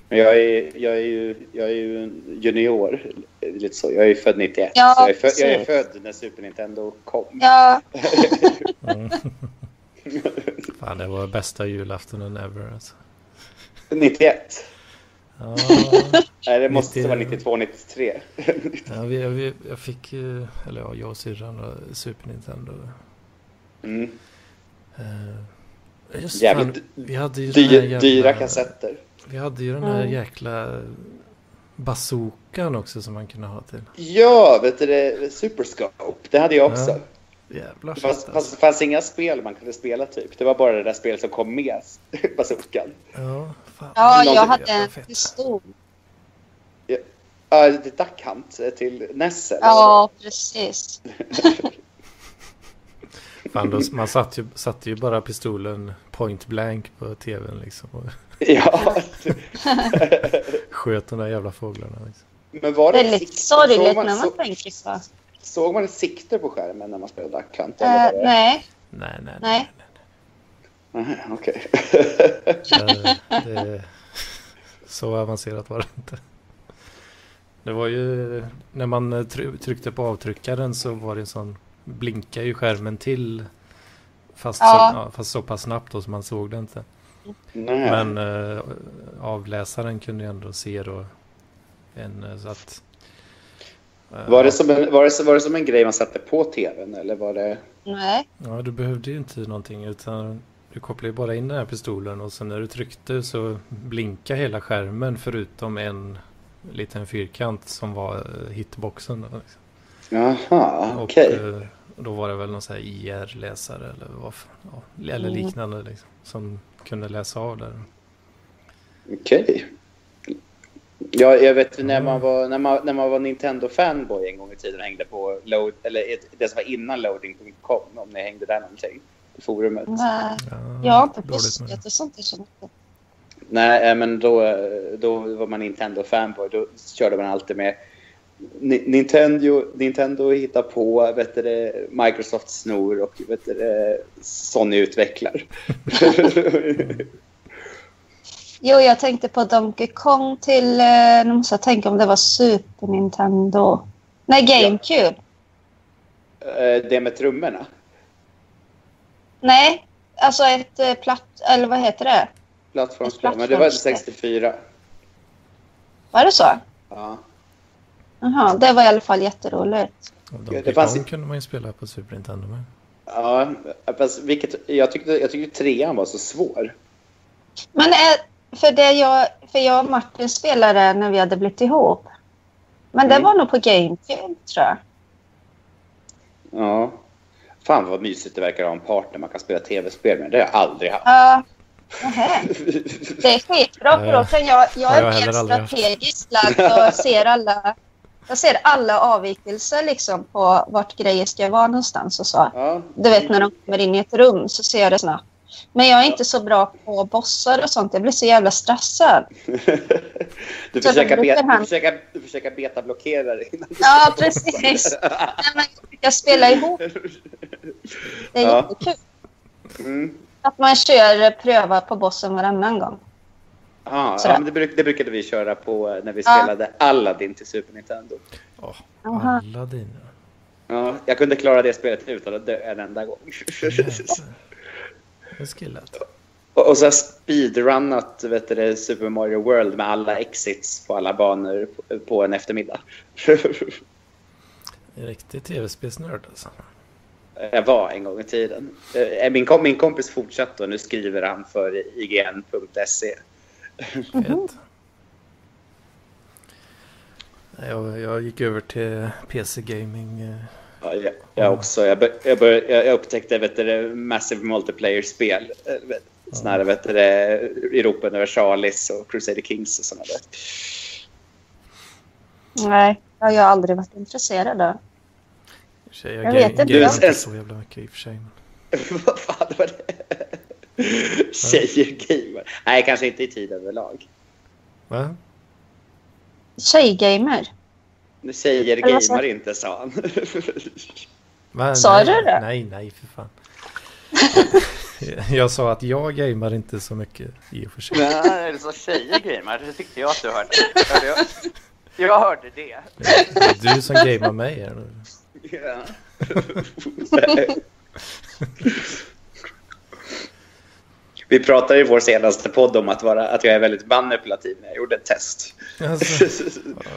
Speaker 4: Men jag är, jag, är ju, jag är ju en junior. eh, Lite så. Jag är ju född 91.
Speaker 1: Ja,
Speaker 4: så jag, är född, jag är
Speaker 1: precis.
Speaker 4: född när Super Nintendo kom.
Speaker 1: Ja,
Speaker 2: Fan det var bästa julaftonen ever alltså.
Speaker 4: 91.
Speaker 2: Ja,
Speaker 4: Nej, det måste
Speaker 2: 90.
Speaker 4: vara 92, 93.
Speaker 2: ja, vi, vi, jag fick ju, eller ja, jag och syrran då, Super Nintendo.
Speaker 4: Mm.
Speaker 2: Eh, Just
Speaker 4: Jävligt
Speaker 2: fan, vi hade ju den här
Speaker 4: Dyr,
Speaker 2: jävla-
Speaker 4: dyra kassetter.
Speaker 2: Vi hade ju den här
Speaker 1: Mm.
Speaker 2: jäkla bazookan också som man kunde ha till.
Speaker 4: Ja, vet du det? Superscope. Det hade jag också.
Speaker 2: Ja, Jävlar
Speaker 4: Det
Speaker 2: shit
Speaker 4: fanns,
Speaker 2: alltså.
Speaker 4: fanns, fanns inga spel man kunde spela typ. Det var bara det där spelet som kom med bazookan.
Speaker 2: Ja, fan.
Speaker 1: ja
Speaker 4: Någon
Speaker 1: jag
Speaker 4: tycker
Speaker 1: hade
Speaker 2: Jävla
Speaker 1: en
Speaker 2: fett.
Speaker 1: pistol.
Speaker 4: Ja, det är Duck Hunt till Ness. eller?
Speaker 1: Ja, precis.
Speaker 2: Fan, då, man satte ju, satte ju bara pistolen point blank på tvn liksom. Och
Speaker 4: ja. typ.
Speaker 2: sköt de där jävla fåglarna. Liksom.
Speaker 4: Men var det,
Speaker 1: Det är lite
Speaker 4: sikte-
Speaker 1: sorgligt
Speaker 4: såg man,
Speaker 1: när man
Speaker 4: så,
Speaker 1: tänker på.
Speaker 4: såg man ett sikte på skärmen när man spelade Duck Hunt? eller
Speaker 1: Eh,
Speaker 4: var det-
Speaker 1: nej,
Speaker 2: Nej, nej,
Speaker 1: Nej.
Speaker 2: nej.
Speaker 4: Nej, Okej.
Speaker 2: nej. Det, Eh, det, så avancerat var det inte. Det var ju när man eh, try- tryckte på avtryckaren så var det en sån blinkade ju skärmen till. Fast,
Speaker 1: Ja.
Speaker 2: så, ja, fast så pass snabbt då så man såg det inte.
Speaker 4: Nej.
Speaker 2: Men eh, avläsaren kunde ju ändå se då en eh, så att... eh,
Speaker 4: Var det, som en, var, det, som- var det som en grej man satte på tvn eller var det...
Speaker 1: nej.
Speaker 2: Ja, du behövde ju inte någonting utan Du kopplar ju bara in den här pistolen och sen när du tryckte så blinkar hela skärmen förutom en liten fyrkant som var eh, hitboxen. då, Liksom.
Speaker 4: Jaha, okej.
Speaker 2: Och eh, då var det väl någon sån här IR-läsare eller, vad, f- ja, eller
Speaker 1: Mm.
Speaker 2: liknande liksom, som kunde läsa av där.
Speaker 4: Okej. Ja, jag vet när man var, när man, när man var Nintendo-fanboy en gång i tiden och hängde på load, eller ett- det som var innan loading.com, om ni hängde där någonting i forumet.
Speaker 1: Nej,
Speaker 2: Ja,
Speaker 1: jag har inte
Speaker 2: dåligt med det.
Speaker 1: puskat och sånt där så mycket.
Speaker 4: Nej, eh, men då, eh, då var man Nintendo-fanboy. Då körde man alltid med Ni- Nintendo, Nintendo hittar på, vet du, det, Microsoft snor och vet du, det, Sony utvecklar.
Speaker 1: Jo, jag tänkte på Donkey Kong till... eh, Nu måste jag tänka om det var Super Nintendo. Nej, GameCube.
Speaker 4: Eh, det med trummorna.
Speaker 1: Nej, alltså ett eh, platt... Eller vad heter det?
Speaker 4: Plattformsspel. Men det var
Speaker 1: Plattformsspel.
Speaker 4: 64.
Speaker 1: Var det så?
Speaker 4: Ja.
Speaker 1: Jaha, det var i alla fall jätteroligt.
Speaker 2: Och Donkey
Speaker 4: Det fanns
Speaker 2: Kong
Speaker 4: ju-
Speaker 2: kunde man ju spela på Super Nintendo med.
Speaker 4: Ja, fast vilket, jag, tyckte, jag tyckte trean var så svår.
Speaker 1: Men eh, för, det jag, för jag och Martin spelade när vi hade blivit ihop. Men det
Speaker 4: Mm.
Speaker 1: var nog på GameCube, tror jag.
Speaker 4: Ja. Fan vad mysigt det verkar att ha en partner man kan spela tv-spel med. Det har jag aldrig haft.
Speaker 1: Ja, nähä. det är skitbra för då kan jag... Jag
Speaker 2: har
Speaker 1: är
Speaker 2: jag
Speaker 1: mer
Speaker 2: heller aldrig haft.
Speaker 1: strategiskt lagd och ser alla... Jag ser alla avvikelser liksom på vart grejer ska vara någonstans och så.
Speaker 4: Ja.
Speaker 1: Du vet när de kommer in i ett rum så ser jag det snabbt. Men jag är inte så bra på bossar och sånt. Jag blir så jävla stressad.
Speaker 4: Du
Speaker 1: Så
Speaker 4: försöker,
Speaker 1: då
Speaker 4: be,
Speaker 1: brukar
Speaker 4: du
Speaker 1: han-
Speaker 4: försöker, du försöker betablockera det innan.
Speaker 1: Ja, precis. Nej, men jag spelar ihop. Det är
Speaker 4: Ja.
Speaker 1: jättekul.
Speaker 4: Mm.
Speaker 1: Att man kör eh, pröva på bossen varannan gång.
Speaker 4: Ja, ja,
Speaker 1: Sådär.
Speaker 4: men det, bruk, det brukade vi köra på eh, när vi
Speaker 1: Ja.
Speaker 4: spelade Aladdin till Super Nintendo.
Speaker 2: Oh,
Speaker 1: Aha.
Speaker 2: alla dina.
Speaker 4: Ja, jag kunde klara det spelet utan att dö en enda gång.
Speaker 2: Jävlar. Det är skillat.
Speaker 4: Och, och så har jag speedrunnat vet du, det, Super Mario World med alla exits på alla banor på, på en eftermiddag.
Speaker 2: En riktig tv-spelsnörd alltså.
Speaker 4: jag var en gång i tiden. Eh, Min, kom, min kompis fortsatte och nu skriver han för IGN.se.
Speaker 1: Mhm.
Speaker 2: Fett. Nej, Jag, jag gick över till PC-gaming. eh,
Speaker 4: Ja, jag, jag också. Jag, bör, jag, bör, jag jag upptäckte vet du, det, Massive Multiplayer-spel. Eh, vet- Såna här vet du, det, Europa Universalis och Crusader Kings och sådana där.
Speaker 1: Nej, jag har ju aldrig varit intresserad av.
Speaker 2: i och för sig. Jag,
Speaker 1: Jag
Speaker 2: ga-
Speaker 1: vet inte.
Speaker 2: gamer
Speaker 4: Du,
Speaker 2: inte
Speaker 4: en-
Speaker 2: så jävla mycket i och för sig. men-
Speaker 4: Vad fan var det? Tjejer gamer. Nej, kanske inte i tid överlag.
Speaker 2: Va?
Speaker 1: Tjejgamer.
Speaker 4: Tjejer
Speaker 1: Men alltså- vad sa-
Speaker 4: gamer inte, sa han.
Speaker 2: Va?
Speaker 1: Sa
Speaker 2: nej,
Speaker 1: du det?
Speaker 2: Nej, nej för fan. jag sa att jag gamer inte så mycket i och för sig.
Speaker 4: Nej, du sa tjejer gamer. Det tyckte jag att du hörde. hörde jag? jag hörde det.
Speaker 2: Det är Du som gamer mig här nu.
Speaker 4: Ja. Vi pratade i vår senaste podd om att, vara, att jag är väldigt manipulativ när jag gjorde ett test.
Speaker 2: Alltså,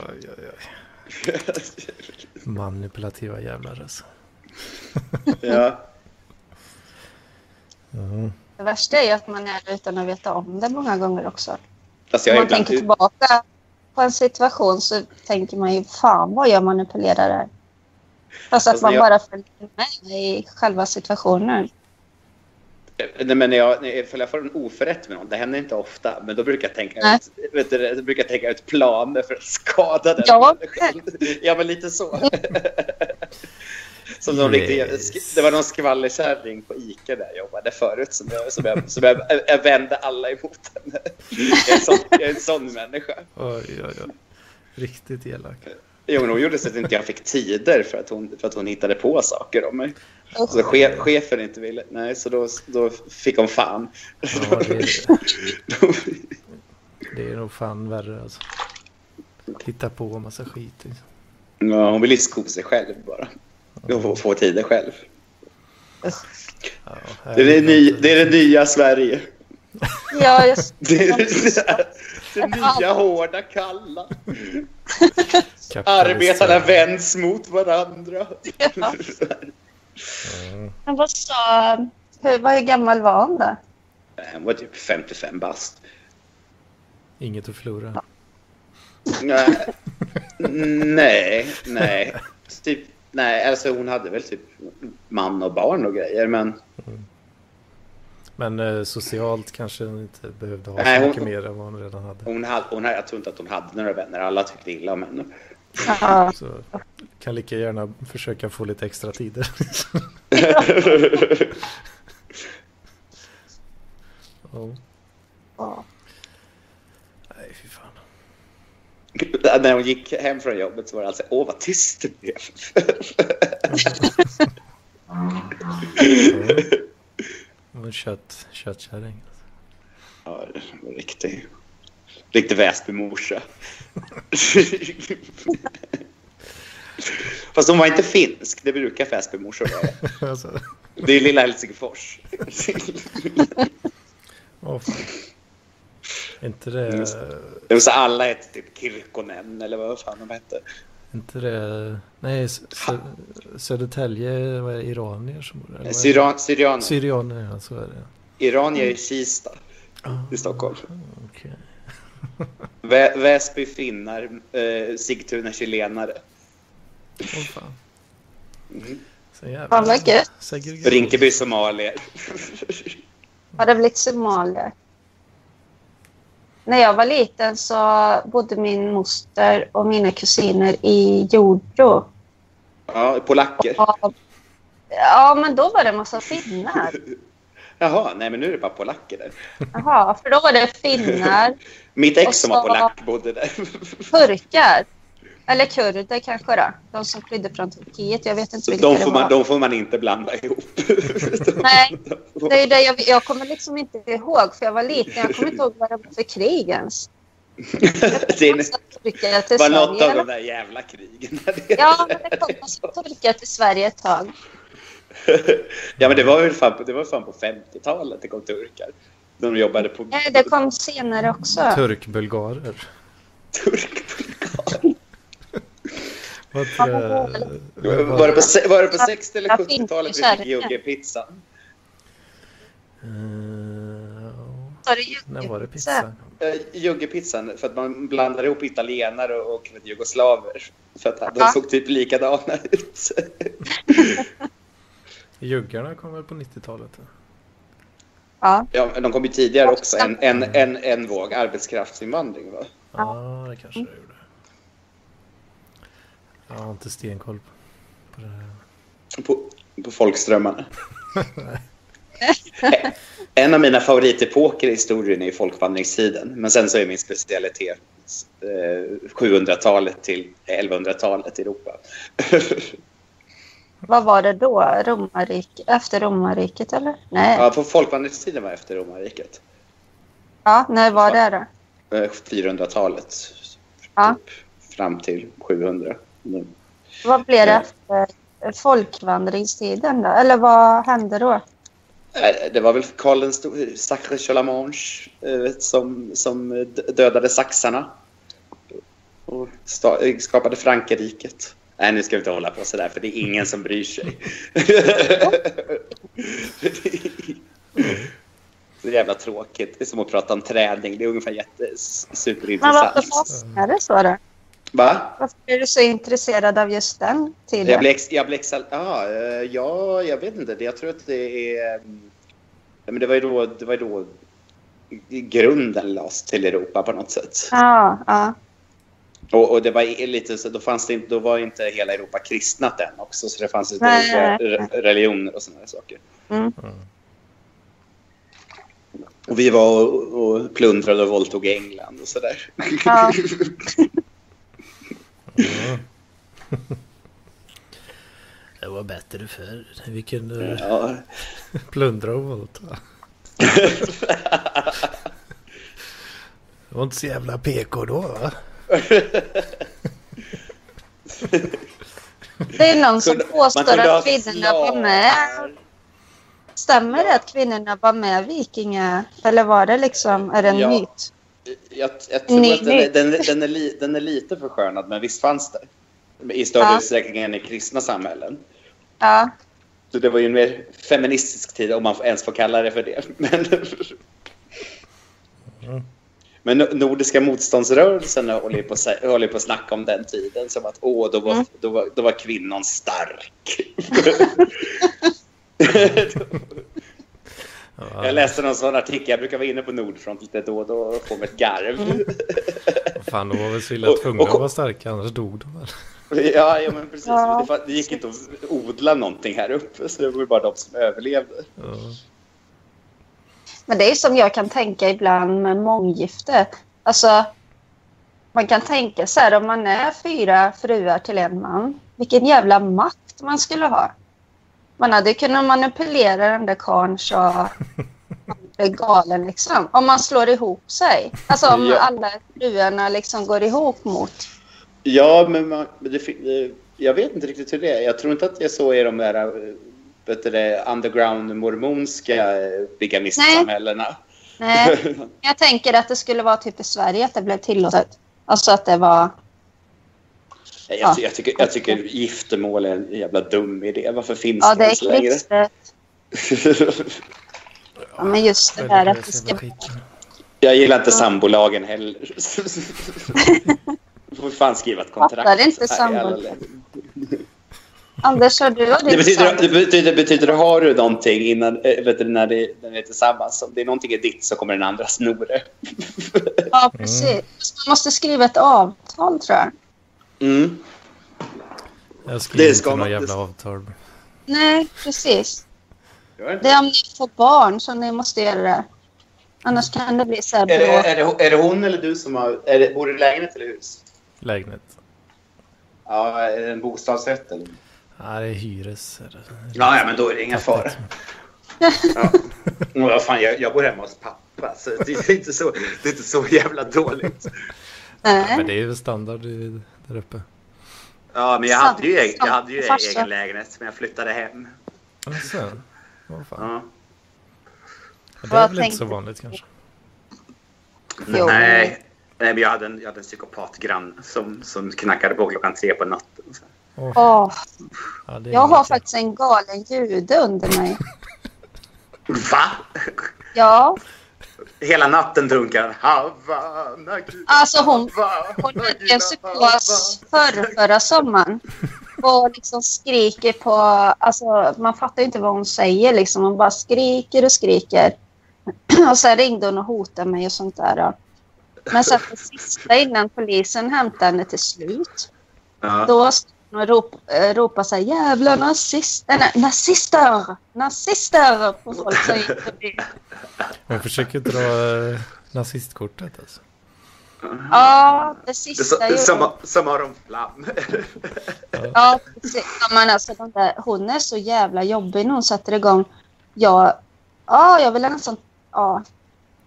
Speaker 2: oj, oj, oj.
Speaker 1: Mm.
Speaker 2: Manipulativa jävlar alltså.
Speaker 4: ja.
Speaker 2: Ja.
Speaker 1: Det värsta är ju att man är det utan att veta om det många gånger också.
Speaker 4: Fast
Speaker 1: Om
Speaker 4: jag är
Speaker 1: man
Speaker 4: ibland,
Speaker 1: tänker tillbaka på en situation så tänker man ju fan vad jag manipulerar där. Fast att
Speaker 4: Alltså,
Speaker 1: man
Speaker 4: jag-
Speaker 1: bara följer med i själva situationen.
Speaker 4: Eh, nej, men när jag, ifall jag får en oförrätt med någon, det händer inte ofta, men då brukar jag tänka,
Speaker 1: Nej.
Speaker 4: ut, vet du, det, då brukar jag tänka ut planer för att skada den
Speaker 1: Ja.
Speaker 4: människan. Ja, men lite så. Som någon riktig,
Speaker 2: Yes.
Speaker 4: det var någon skvallerkärring på Ica där jag jobbade förut som jag, som jag, som jag, jag vände alla emot henne. Jag är en sån, jag är en sån människa.
Speaker 2: Oj, oj, oj. Riktigt elak.
Speaker 4: Jo, men hon gjorde så att inte jag fick tider för att hon, för att hon hittade på saker om mig.
Speaker 1: Usch.
Speaker 4: Så chef, chefen inte ville. Nej, så då, då fick hon fan.
Speaker 2: Ja, det, det är nog fan värre alltså. Hitta på en massa skit. Liksom.
Speaker 4: Ja, hon ville ju sko sig själv bara. Och få, få tider själv.
Speaker 2: Ja,
Speaker 4: Det är det, ny, det är det nya Sverige.
Speaker 1: Ja, jag...
Speaker 4: Det är det, det nya hårda kalla.
Speaker 2: Kapitalism.
Speaker 4: Arbetarna vänds mot varandra.
Speaker 1: Men vad sa Hur, vad gammal var han då?
Speaker 4: Han var typ 55 bast.
Speaker 2: Inget att förlora.
Speaker 4: Nej, nej, nej. Typ, nej, alltså hon hade väl typ man och barn och grejer, men
Speaker 2: Men eh, socialt kanske hon inte behövde ha
Speaker 4: Nej,
Speaker 2: så
Speaker 4: hon-
Speaker 2: mycket mer än vad hon redan hade.
Speaker 4: hon hade, hon, hade- jag tror inte att hon hade några vänner. Alla tyckte illa om henne.
Speaker 1: Ja.
Speaker 2: Så kan lika gärna försöka få lite extra tider. Ja. Nej, fy fan.
Speaker 4: När hon gick hem från jobbet så var det alltså åh vad tyst det blev.
Speaker 2: Hon var en kött, köttkärring.
Speaker 4: Ja, det var riktigt. Riktig Väsbymorsa. Fast hon var inte finsk, det brukar Väsbymorsor vara.
Speaker 2: alltså.
Speaker 4: Det är lilla Helsingfors.
Speaker 2: åh, fan. Inte det,
Speaker 4: Det var så alla hette typ Kirkkonen eller vad fan de hette.
Speaker 2: inte det, nej, Sö- Sö- Södertälje, vad är det, iranier som bor där? eller vad är det?
Speaker 4: Syrian, syrianer.
Speaker 2: Syrianer, ja, så är det.
Speaker 4: Iranier i Kista
Speaker 2: Ah,
Speaker 4: i Stockholm.
Speaker 2: okej.
Speaker 4: Vä- Väsby finnar, eh, Sigtuna chilenare.
Speaker 2: Åh, fan.
Speaker 4: Mhm.
Speaker 2: Så jävla
Speaker 1: Fan vad gött.
Speaker 2: segregation.
Speaker 4: Rinkeby somalier.
Speaker 1: Har det blivit somalier? När jag var liten så bodde min moster och mina kusiner i Jordbro.
Speaker 4: ja, polacker.
Speaker 1: Och, ja, men då var det en massa finnar.
Speaker 4: Jaha, nej men nu är det bara polacker där.
Speaker 1: Jaha, för då var det finnar,
Speaker 4: Mitt
Speaker 1: Och
Speaker 4: ex som var
Speaker 1: så-
Speaker 4: polack bodde där.
Speaker 1: turkar. Eller kurder kanske då. De som flydde från Turkiet. Jag vet inte
Speaker 4: Så
Speaker 1: vilka
Speaker 4: de
Speaker 1: det
Speaker 4: får,
Speaker 1: var.
Speaker 4: man, de får man inte blanda ihop.
Speaker 1: Nej, det är ju det jag, jag kommer liksom inte ihåg, för jag var liten. Jag kommer inte ihåg vad det var för krig ens.
Speaker 4: det är,
Speaker 1: Massa turkar till
Speaker 4: var
Speaker 1: Sverige,
Speaker 4: något av
Speaker 1: eller?
Speaker 4: de där jävla krigen.
Speaker 1: Ja, men det kom massa turkar till Sverige ett tag.
Speaker 4: ja, men det var väl fan, på- det var fan på 50-talet det kom turkar. De jobbade på
Speaker 1: Nej, det kom senare också.
Speaker 2: Turkbulgarer.
Speaker 4: turk.
Speaker 2: Vad
Speaker 1: Ja,
Speaker 2: tror jag- vad-
Speaker 4: Var det på, se- var det på 60 eller
Speaker 1: Ja,
Speaker 4: 70-talet vi
Speaker 1: finska
Speaker 4: fick
Speaker 1: kärringar.
Speaker 4: GOG-pizzan?
Speaker 2: Eh, ja.
Speaker 1: Sa du ju-
Speaker 2: När var det pizza?
Speaker 4: Eh, Juggepizzan, för att man blandar ihop italienare och, och jugoslaver. För att de
Speaker 1: Ja.
Speaker 4: såg typ likadana ut.
Speaker 2: Juggarna kom väl på 90-talet? va?
Speaker 1: Ja,
Speaker 4: Ja, men de kom ju tidigare också. En, en, en, en våg arbetskraftsinvandring, va?
Speaker 2: Ja, det kanske det gjorde. Jag har inte stenkoll på, på det här.
Speaker 4: På, på folkströmmarna. en av mina favoritepoker i historien är ju folkvandringstiden. Men sen så är min specialitet eh, 700-talet till 1100-talet i Europa.
Speaker 1: vad var det då? Romarrik, efter romarriket eller? Nej.
Speaker 4: ja, på folkvandringstiden var efter romarriket.
Speaker 1: Ja, när var det då?
Speaker 4: Eh, 400-talet.
Speaker 1: Ja.
Speaker 4: Typ, fram till 700. Mm.
Speaker 1: Vad blev det efter folkvandringstiden då? Eller vad hände då?
Speaker 4: Eh, Det var väl Karl den store, Sacre Chalamange, eh, som, som eh, d- dödade saxarna och sta- eh, skapade Frankrriket. Nej, nu ska vi inte hålla på sådär, för det är ingen som bryr sig. Så jävla tråkigt. Det är som att prata om träning. Det är ungefär jätte,
Speaker 1: Men varför
Speaker 4: superintressant.
Speaker 1: fastnade det så då?
Speaker 4: Va?
Speaker 1: Varför är du så intresserad av just den
Speaker 4: Jag
Speaker 1: tiden?
Speaker 4: blir, ex- jag blir exalt... Ah, eh, ja, jag vet inte. Jag tror att det är... mm, Men det var ju då, det var ju då grunden lades till Europa på något sätt.
Speaker 1: Ja, ja.
Speaker 4: Och, och det var i- lite så, då fanns det inte, då var inte hela Europa kristnat än också. Så det fanns lite
Speaker 1: Nej,
Speaker 4: olika
Speaker 1: nej,
Speaker 4: re- religioner och sådana här saker.
Speaker 1: Mm.
Speaker 2: Mm.
Speaker 4: Och vi var och, och plundrade och våldtog England och sådär.
Speaker 1: Ja.
Speaker 2: Ja. det var bättre förr. Vi kunde
Speaker 1: Mm.
Speaker 4: Ja.
Speaker 2: plundra och våldta. Det var inte så jävla PK då va?
Speaker 1: Det är någon som
Speaker 4: Kunde- man
Speaker 1: påstår
Speaker 4: kunde ha
Speaker 1: att kvinnorna var med.
Speaker 4: slavar.
Speaker 1: Stämmer det att kvinnorna var med vikinga? Eller var det liksom, är det en
Speaker 4: Ja.
Speaker 1: myt?
Speaker 4: Jag, jag tror
Speaker 1: Nej,
Speaker 4: att den
Speaker 1: nej.
Speaker 4: är, den, är- den, är li, den är lite förskönad, men visst fanns det. I större
Speaker 1: Ja.
Speaker 4: utsträckning än i kristna samhällen.
Speaker 1: Ja.
Speaker 4: Så det var ju en mer feministisk tid, om man ens får kalla det för det. Men,
Speaker 2: Mm.
Speaker 4: men Nordiska motståndsrörelsen håller ju på att sä- håller ju på att snacka om den tiden som att åh, då var,
Speaker 1: Mm.
Speaker 4: då var, då var kvinnan stark.
Speaker 2: Ja,
Speaker 4: Jag läste någon sån artikel, jag brukar vara inne på Nordfront lite då och då och få mig ett garv.
Speaker 1: Mm.
Speaker 2: Fan, de var väl så illa
Speaker 4: Och-
Speaker 2: tvungna
Speaker 4: och-
Speaker 2: att vara starka, annars dog de väl.
Speaker 4: Ja, ja men precis.
Speaker 1: Ja.
Speaker 4: Det, fa- det gick inte att odla någonting här uppe, så det var ju bara de som överlevde.
Speaker 2: Ja.
Speaker 1: Men det är som jag kan tänka ibland med månggifte. Alltså, man kan tänka så här om man är fyra fruar till en man. Vilken jävla makt man skulle ha. Man hade ju kunnat manipulera den där karln så han blev galen liksom. Om man slår ihop sig. Alltså om
Speaker 4: Ja.
Speaker 1: alla fruarna liksom går ihop mot.
Speaker 4: Ja, men man, men det, fin- eh, jag vet inte riktigt hur det är. Jag tror inte att det är så i de där eh, vet du det, underground mormonska eh, bigamistsamhällena.
Speaker 1: Nej, men jag tänker att det skulle vara typ i Sverige att det blev tillåtet. Alltså att det var...
Speaker 4: jag,
Speaker 1: Ja.
Speaker 4: jag, tycker, jag tycker giftermål är en jävla dum idé. Varför finns
Speaker 1: Ja,
Speaker 4: det
Speaker 1: det är
Speaker 4: ens längre?
Speaker 1: kristet. Ja, men just det där att det
Speaker 2: Religiös
Speaker 1: ska
Speaker 2: jävla skit.
Speaker 4: jag gillar inte sambolagen heller. får fan skriva ett kontrakt.
Speaker 1: Fattar inte
Speaker 4: så här i alla
Speaker 1: sambo-
Speaker 4: länder.
Speaker 1: Anders, har du och
Speaker 4: Det
Speaker 1: din
Speaker 4: betyder, det
Speaker 1: sambo?
Speaker 4: betyder, betyder det har du någonting innan, eh, vet du, när, det, när ni är tillsammans. Om det är någonting är ditt så kommer den andra sno det.
Speaker 1: Ja, precis. Fast Man måste skriva ett avtal, tror jag.
Speaker 4: Mm.
Speaker 2: Jag skriver
Speaker 4: Det ska
Speaker 2: inte
Speaker 4: man-
Speaker 2: några jävla
Speaker 4: det-
Speaker 2: avtal.
Speaker 1: Nej, precis.
Speaker 4: Gör inte
Speaker 1: Det är om ni får barn som ni måste göra det. Annars kan det bli så här
Speaker 4: Är det,
Speaker 1: bråk.
Speaker 4: är, det, är det hon eller du som har... Är det, bor du i lägenhet eller hus?
Speaker 2: Lägenhet.
Speaker 4: Ja, är det en bostadsrätt eller?
Speaker 2: Nej, det är hyres. är det.
Speaker 4: Ja, ja men då är det inga faror. Ja. Men vad fan, jag, jag bor hemma hos pappa så det är inte så, det är inte så jävla dåligt.
Speaker 2: Ja, men
Speaker 1: Nej.
Speaker 2: det är ju standard i- där uppe.
Speaker 4: Ja, men jag hade ju, egen- jag hade ju
Speaker 1: Farsa.
Speaker 4: egen lägenhet men jag flyttade hem.
Speaker 2: Alltså, vad fan.
Speaker 4: Ja.
Speaker 2: Ja, Det är
Speaker 1: Vad
Speaker 2: väl inte så
Speaker 1: tänkte-
Speaker 2: vanligt kanske.
Speaker 1: Jo.
Speaker 4: Nej. Nej, men jag hade en, jag hade en psykopatgrann som, som knackade på klockan tre på natten.
Speaker 2: Åh,
Speaker 1: Åh,
Speaker 2: ja, det är
Speaker 1: jag har
Speaker 2: olika.
Speaker 1: faktiskt en galen jude under mig.
Speaker 4: Va?
Speaker 1: Ja,
Speaker 4: Hela natten dunkar han. Havana, gula
Speaker 1: alltså hon,
Speaker 4: Havana,
Speaker 1: hon fick
Speaker 4: gula
Speaker 1: en psykos förr, förra sommaren. Och liksom skriker på... Alltså, man fattar ju inte vad hon säger. Liksom. Hon bara skriker och skriker. Och sen ringde hon och hotade mig och sånt där. ja. Men sen det sista innan polisen hämtade henne till slut.
Speaker 4: Havana. Ja.
Speaker 1: Då stod hon och rop, eh, ropade så här jävla nazist, äh, na- nazister, nazister på folk som gick förbi.
Speaker 2: Hon försöker dra eh, nazistkortet alltså.
Speaker 1: Ja, det
Speaker 4: Det är
Speaker 1: sista
Speaker 4: så-
Speaker 1: gjorde hon.
Speaker 4: Som, som har de flam.
Speaker 1: Ja, precis. Ja, men alltså, de där, hon är så jävla jobbig när hon sätter igång. Ja, ja jag vill ha en sån... Ja.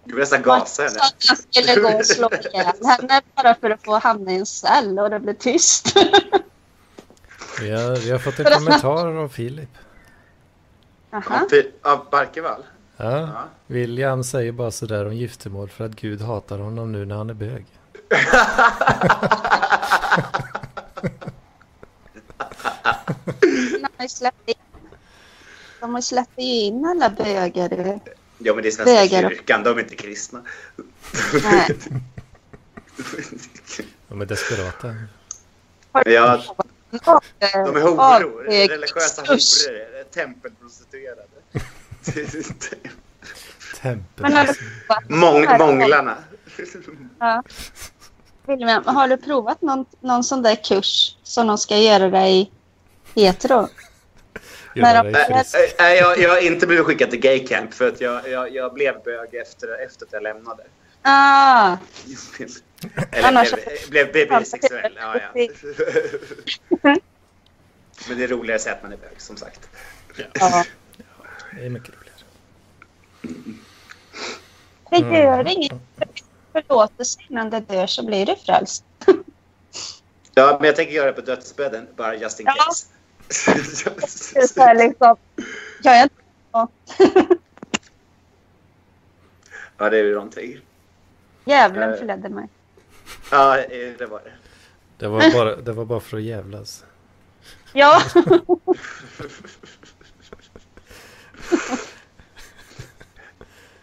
Speaker 4: Jag vill nästan
Speaker 1: Man
Speaker 4: gasa
Speaker 1: sa
Speaker 4: henne.
Speaker 1: att jag skulle gå och slå ihjäl henne bara för att få hamna i en cell och det blev tyst.
Speaker 2: Vi har, vi har fått en
Speaker 1: För att-
Speaker 2: kommentar av Filip.
Speaker 1: Aha.
Speaker 4: Ty- Av Barkevall?
Speaker 2: Ja.
Speaker 4: Ja.
Speaker 2: William säger bara sådär om giftermål för att Gud hatar honom nu när han är bög.
Speaker 1: De har ju släppt in, de har ju släppt in alla bögar. i-
Speaker 4: Ja, men det är Svenska
Speaker 1: Vägar.
Speaker 4: kyrkan. De är inte kristna.
Speaker 1: Nej.
Speaker 2: De är desperata.
Speaker 1: Har du
Speaker 4: Ja,
Speaker 1: någon av-
Speaker 4: De är
Speaker 1: av-
Speaker 4: horor. Religiösa
Speaker 1: Jesus?
Speaker 4: horor. är det. Tempelprostituerade.
Speaker 2: Tempel.
Speaker 1: Men har du provat-
Speaker 4: Mång, månglarna.
Speaker 1: Ja. William, har du provat någon, någon sån där kurs som de ska göra dig hetero?
Speaker 2: Göra
Speaker 1: de-
Speaker 2: dig frisk.
Speaker 4: Nej, nej, Äh, jag, jag har inte blivit skickad till gay camp för att jag, jag, jag blev bög efter, efter att jag lämnade.
Speaker 1: Ah,
Speaker 4: Eller
Speaker 1: Annars-
Speaker 4: blev, blev bisexuell. Ja, ja. Men det är roligare att säga att man är bög, som sagt.
Speaker 1: ja.
Speaker 2: Det är mycket roligare.
Speaker 1: Det gör inget. Förlåtelse innan det dör så blir du frälst.
Speaker 4: Ja, men jag tänker göra det på dödsbädden, bara just in
Speaker 1: Ja.
Speaker 4: case.
Speaker 1: Det är så här liksom, jag är inte
Speaker 4: ja, det är ju någonting.
Speaker 1: djävulen förledde mig.
Speaker 4: Ja, eh, det var det.
Speaker 2: Det var, bara, det var bara för att jävlas.
Speaker 1: Ja,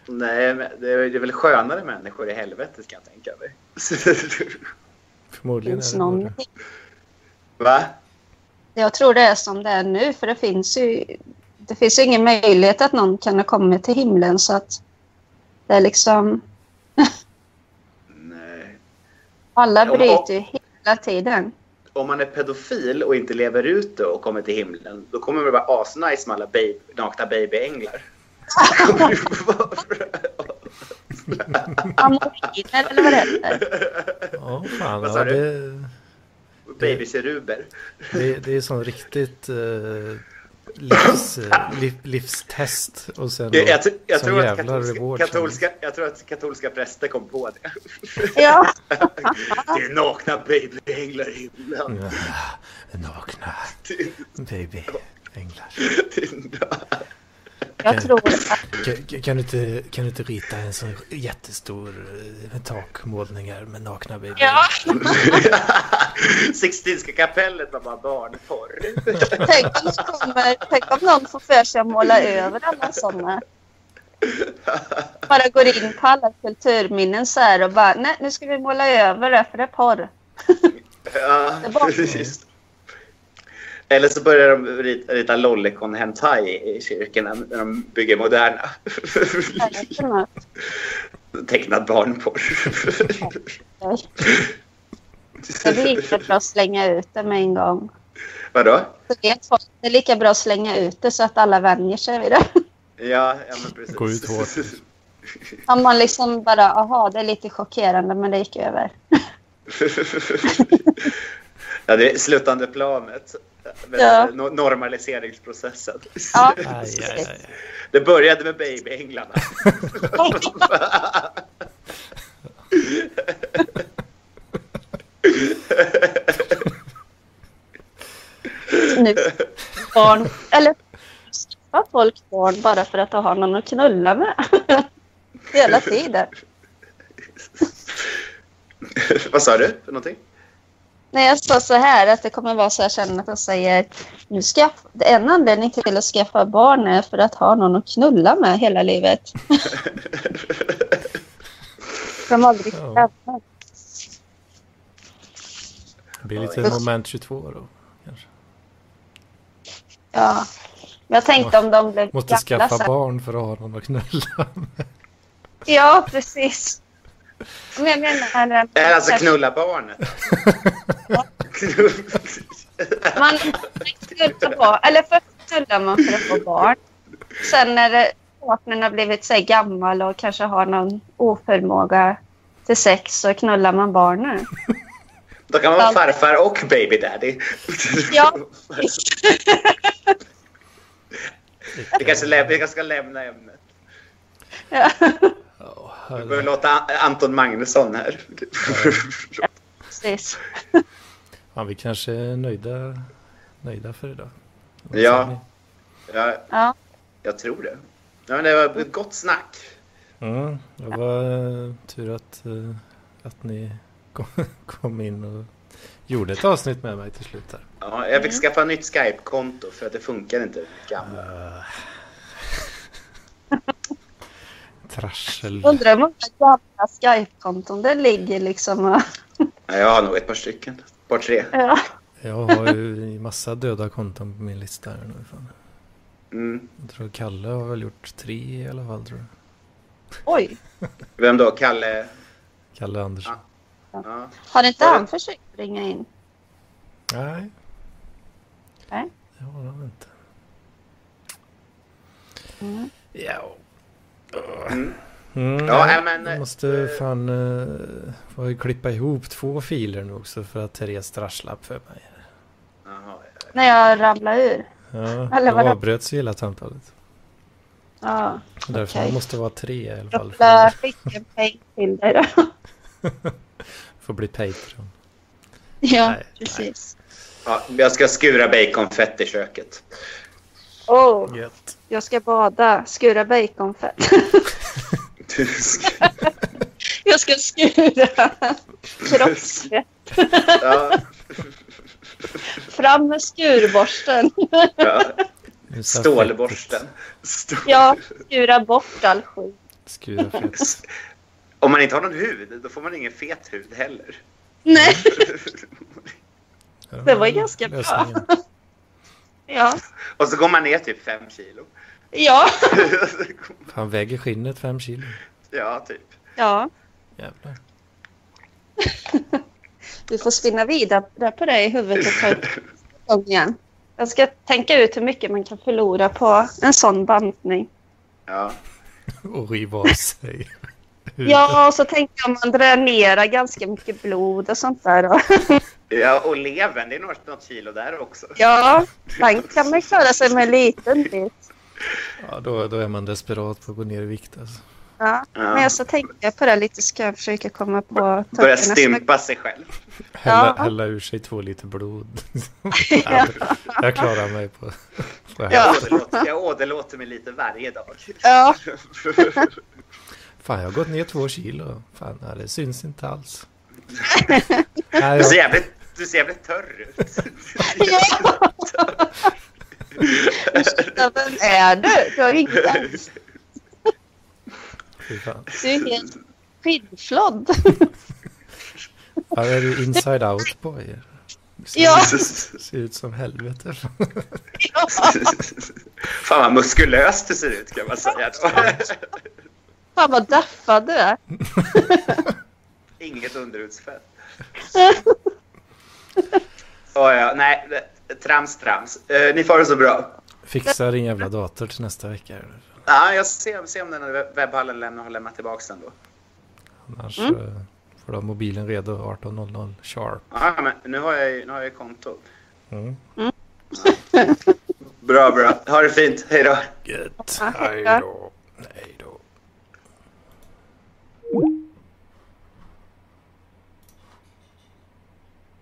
Speaker 4: Nej, men det är det är väl skönare människor i helvetet kan jag tänka mig.
Speaker 2: Förmodligen är
Speaker 1: Finns
Speaker 2: det någon...
Speaker 1: någon...
Speaker 4: Va?
Speaker 1: Jag tror det är som det är nu, för det finns ju, det finns ju ingen möjlighet att någon kan ha kommit till himlen. Så att det är liksom,
Speaker 4: Nej.
Speaker 1: alla
Speaker 4: Ja, och-
Speaker 1: bryter ju hela tiden.
Speaker 4: Om man är pedofil och inte lever ut det och kommer till himlen, då kommer det vara asnice med alla baby, nakna babyänglar.
Speaker 1: Amoriner eller vad det heter.
Speaker 2: Ja, fan.
Speaker 4: Vad
Speaker 2: Ja,
Speaker 4: sa du?
Speaker 2: det,
Speaker 4: Babyseruber.
Speaker 2: det, det är sån riktigt eh, livs, eh, liv, livstest. Och sen
Speaker 4: Jag, jag, jag,
Speaker 2: sån
Speaker 4: tror att
Speaker 2: jävla
Speaker 4: katolska,
Speaker 2: reward
Speaker 4: katolska, jag tror att katolska präster kom på det.
Speaker 1: Ja,
Speaker 4: Det är nakna babyänglar i himlen.
Speaker 2: Ja, Nakna baby. Änglar.
Speaker 1: jag tror att
Speaker 2: Kan- Kan, kan, du inte, kan du inte rita en sån jättestor eh, takmålning här med nakna baby?
Speaker 1: Ja.
Speaker 4: Sixtinska kapellet var bara barnporr.
Speaker 1: tänk om, det kommer, tänk om någon får för sig att måla över alla sådana. Bara går in på alla kulturminnen så här och bara, nej nu ska vi måla över det för det är porr.
Speaker 4: Ja,
Speaker 1: Det var-
Speaker 4: precis. Eller så börjar de rita, rita Lollicon Hentai i kyrkorna när de bygger moderna. Tecknad barnporr.
Speaker 1: Det är lika bra att slänga ut det med en gång.
Speaker 4: Vadå?
Speaker 1: Så vet folk, det är lika bra att slänga ut det så att alla vänjer sig vid det.
Speaker 4: Ja, ja men precis.
Speaker 2: Gå ut hårt.
Speaker 1: Om man liksom bara, aha, det är lite chockerande men det gick över.
Speaker 4: ja, det är slutande planet. Men
Speaker 1: Ja.
Speaker 4: no- Normaliseringsprocessen.
Speaker 1: Ja,
Speaker 2: Aj, aj, aj, aj.
Speaker 4: Det började med babyänglarna.
Speaker 1: nu barn, eller skaffa folk barn bara för att ha någon att knulla med. Hela tiden.
Speaker 4: Vad sa du för någonting?
Speaker 1: Nej, jag sa så här att det kommer vara så här sen att de säger nu skaff, en anledning till att skaffa barn är för att ha någon att knulla med hela livet. De aldrig
Speaker 2: Ja.
Speaker 1: ja.
Speaker 2: Det blir lite moment 22 då. Kanske.
Speaker 1: ja. Men jag tänkte om de blev
Speaker 2: Måste
Speaker 1: så
Speaker 2: skaffa
Speaker 1: här-
Speaker 2: barn för att ha någon att knulla.
Speaker 1: Ja, precis. Men jag menar... eh,
Speaker 4: Nej, Alltså knulla barnet.
Speaker 1: Man knullar barn. Eller först knullar man för att få barn. Sen när det- partnern har blivit så här gammal och kanske har någon oförmåga till sex så knullar man barnen.
Speaker 4: Då kan man vara farfar och baby daddy.
Speaker 1: Ja.
Speaker 4: Vi kanske, lä- vi kanske ska lämna ämnet.
Speaker 1: Ja.
Speaker 2: Ja,
Speaker 4: Vi behöver
Speaker 2: herre.
Speaker 4: låta An- Anton Magnusson här.
Speaker 1: Precis.
Speaker 2: Fan, vi kanske är nöjda, nöjda för idag. Vad
Speaker 4: Ja.
Speaker 2: säger
Speaker 4: Ja,
Speaker 1: Ja.
Speaker 4: jag tror det. Ja, men det var ett gott snack.
Speaker 2: ni? Mm, det var eh, tur att, eh, att ni kom, kom in och gjorde ett avsnitt med mig till slut. Här.
Speaker 4: Ja, jag fick skaffa nytt Skype-konto för att det funkar inte med mitt gamla.
Speaker 2: Eh. Trassel.
Speaker 1: Undrar hur många gamla Skype-konton det ligger liksom. och-
Speaker 4: Ja, jag har nog ett par stycken. Ett par tre.
Speaker 1: Ja.
Speaker 2: Jag har ju en massa döda konton på min lista här nu. Fan.
Speaker 4: Mm.
Speaker 2: Jag tror Kalle har väl gjort tre i alla fall tror jag.
Speaker 1: Oj,
Speaker 4: Vem då? Kalle?
Speaker 2: Kalle Andersson.
Speaker 4: Ja.
Speaker 1: har inte han försökt ringa in?
Speaker 2: Nej.
Speaker 1: Nej.
Speaker 2: Det har han inte. Ja.
Speaker 4: Mm.
Speaker 2: Mm,
Speaker 4: Ja,
Speaker 2: nej,
Speaker 4: äh, men,
Speaker 2: jag måste
Speaker 4: eh,
Speaker 2: fan eh, får ju klippa ihop två filer nu också för att Therese strasslade för mig.
Speaker 4: Jaha.
Speaker 1: När jag ramlade ur?
Speaker 2: Ja,
Speaker 1: Eller
Speaker 2: då
Speaker 1: vadå?
Speaker 2: avbröts ju hela samtalet.
Speaker 1: Ja.
Speaker 2: Därför
Speaker 1: Okej.
Speaker 2: måste det vara tre i alla fall.
Speaker 1: Jag
Speaker 2: För
Speaker 1: lär
Speaker 2: att
Speaker 1: skicka en peng till dig då.
Speaker 2: få bli Patreon.
Speaker 1: Ja,
Speaker 2: Nej,
Speaker 1: precis.
Speaker 4: Ja, jag ska skura baconfett i köket.
Speaker 1: Åh, oh,
Speaker 2: Gött.
Speaker 1: jag ska bada, skura baconfett. Jag ska skura kroppsfett.
Speaker 4: ja,
Speaker 1: Fram med skurborsten.
Speaker 4: ja.
Speaker 2: Nu Kusa
Speaker 4: Stålborsten.
Speaker 2: fettet.
Speaker 4: Stål.
Speaker 1: Ja, skura bort all skit.
Speaker 2: Skura fett.
Speaker 4: Om man inte har någon hud, då får man ingen fet hud heller.
Speaker 1: Nej,
Speaker 2: Här har
Speaker 1: Det var
Speaker 2: vi
Speaker 1: ganska bra.
Speaker 2: lösningen.
Speaker 1: ja.
Speaker 4: Och så går man ner typ fem kilo.
Speaker 1: Ja.
Speaker 2: Han väger skinnet fem kilo.
Speaker 4: ja, typ.
Speaker 1: ja.
Speaker 2: Jävlar.
Speaker 1: Du får spinna vidare på det i huvudet och ta upp dem igen. Jag ska tänka ut hur mycket man kan förlora på en sån bantning.
Speaker 4: Ja.
Speaker 2: Och riva av sig.
Speaker 1: Ja, och så tänker jag om man dränerar ganska mycket blod och sånt där. då.
Speaker 4: ja, och levern, det är något, något kilo där också.
Speaker 1: Ja, den kan man klara sig med en liten bit.
Speaker 2: Ja, då, då är man desperat på att gå ner i vikt alltså.
Speaker 1: Ja. Men jag så tänkte jag på det lite, ska jag försöka komma på... tanken
Speaker 4: Börjar
Speaker 1: nästa-
Speaker 4: stympa sig själv.
Speaker 2: Hälla,
Speaker 1: Ja.
Speaker 2: hälla ur sig två liter blod. ja. Jag klarar mig på, på det här.
Speaker 1: Ja.
Speaker 4: Jag åderlåter, jag åderlåter mig lite varje dag.
Speaker 1: Ja,
Speaker 2: Fan, jag har gått ner två kilo. Fan, nej, det syns inte alls. Nej,
Speaker 4: Du
Speaker 2: jag,
Speaker 4: ser jävligt, du ser jävligt törr ut.
Speaker 1: Ja, vem är du? Du har inget alls.
Speaker 2: fy fan.
Speaker 1: Du är helt skinnflådd.
Speaker 2: Här är du inside out boy.
Speaker 1: Ja.
Speaker 2: Ser ut som helvete.
Speaker 4: Fan vad muskulöst du ser ut kan man säga. då.
Speaker 1: Fan vad daffad du är.
Speaker 4: Inget underhudsfett. Oh, ja, nej, det- trams, trams. Eh, ni får det så bra.
Speaker 2: Fixa din jävla dator till nästa vecka.
Speaker 4: Ja, jag ser, ser om den här web- webbhallen lämnar, har lämnat tillbaka den då.
Speaker 2: Annars eh, får du ha mobilen redo 18.00 sharp.
Speaker 4: Ja, men nu har jag ju, nu har jag ju konto.
Speaker 2: Mm.
Speaker 4: Bra, bra. Ha det fint. Hej då.
Speaker 2: Gött.
Speaker 1: Ja, hej
Speaker 2: Hej
Speaker 1: då.
Speaker 2: då. Nej.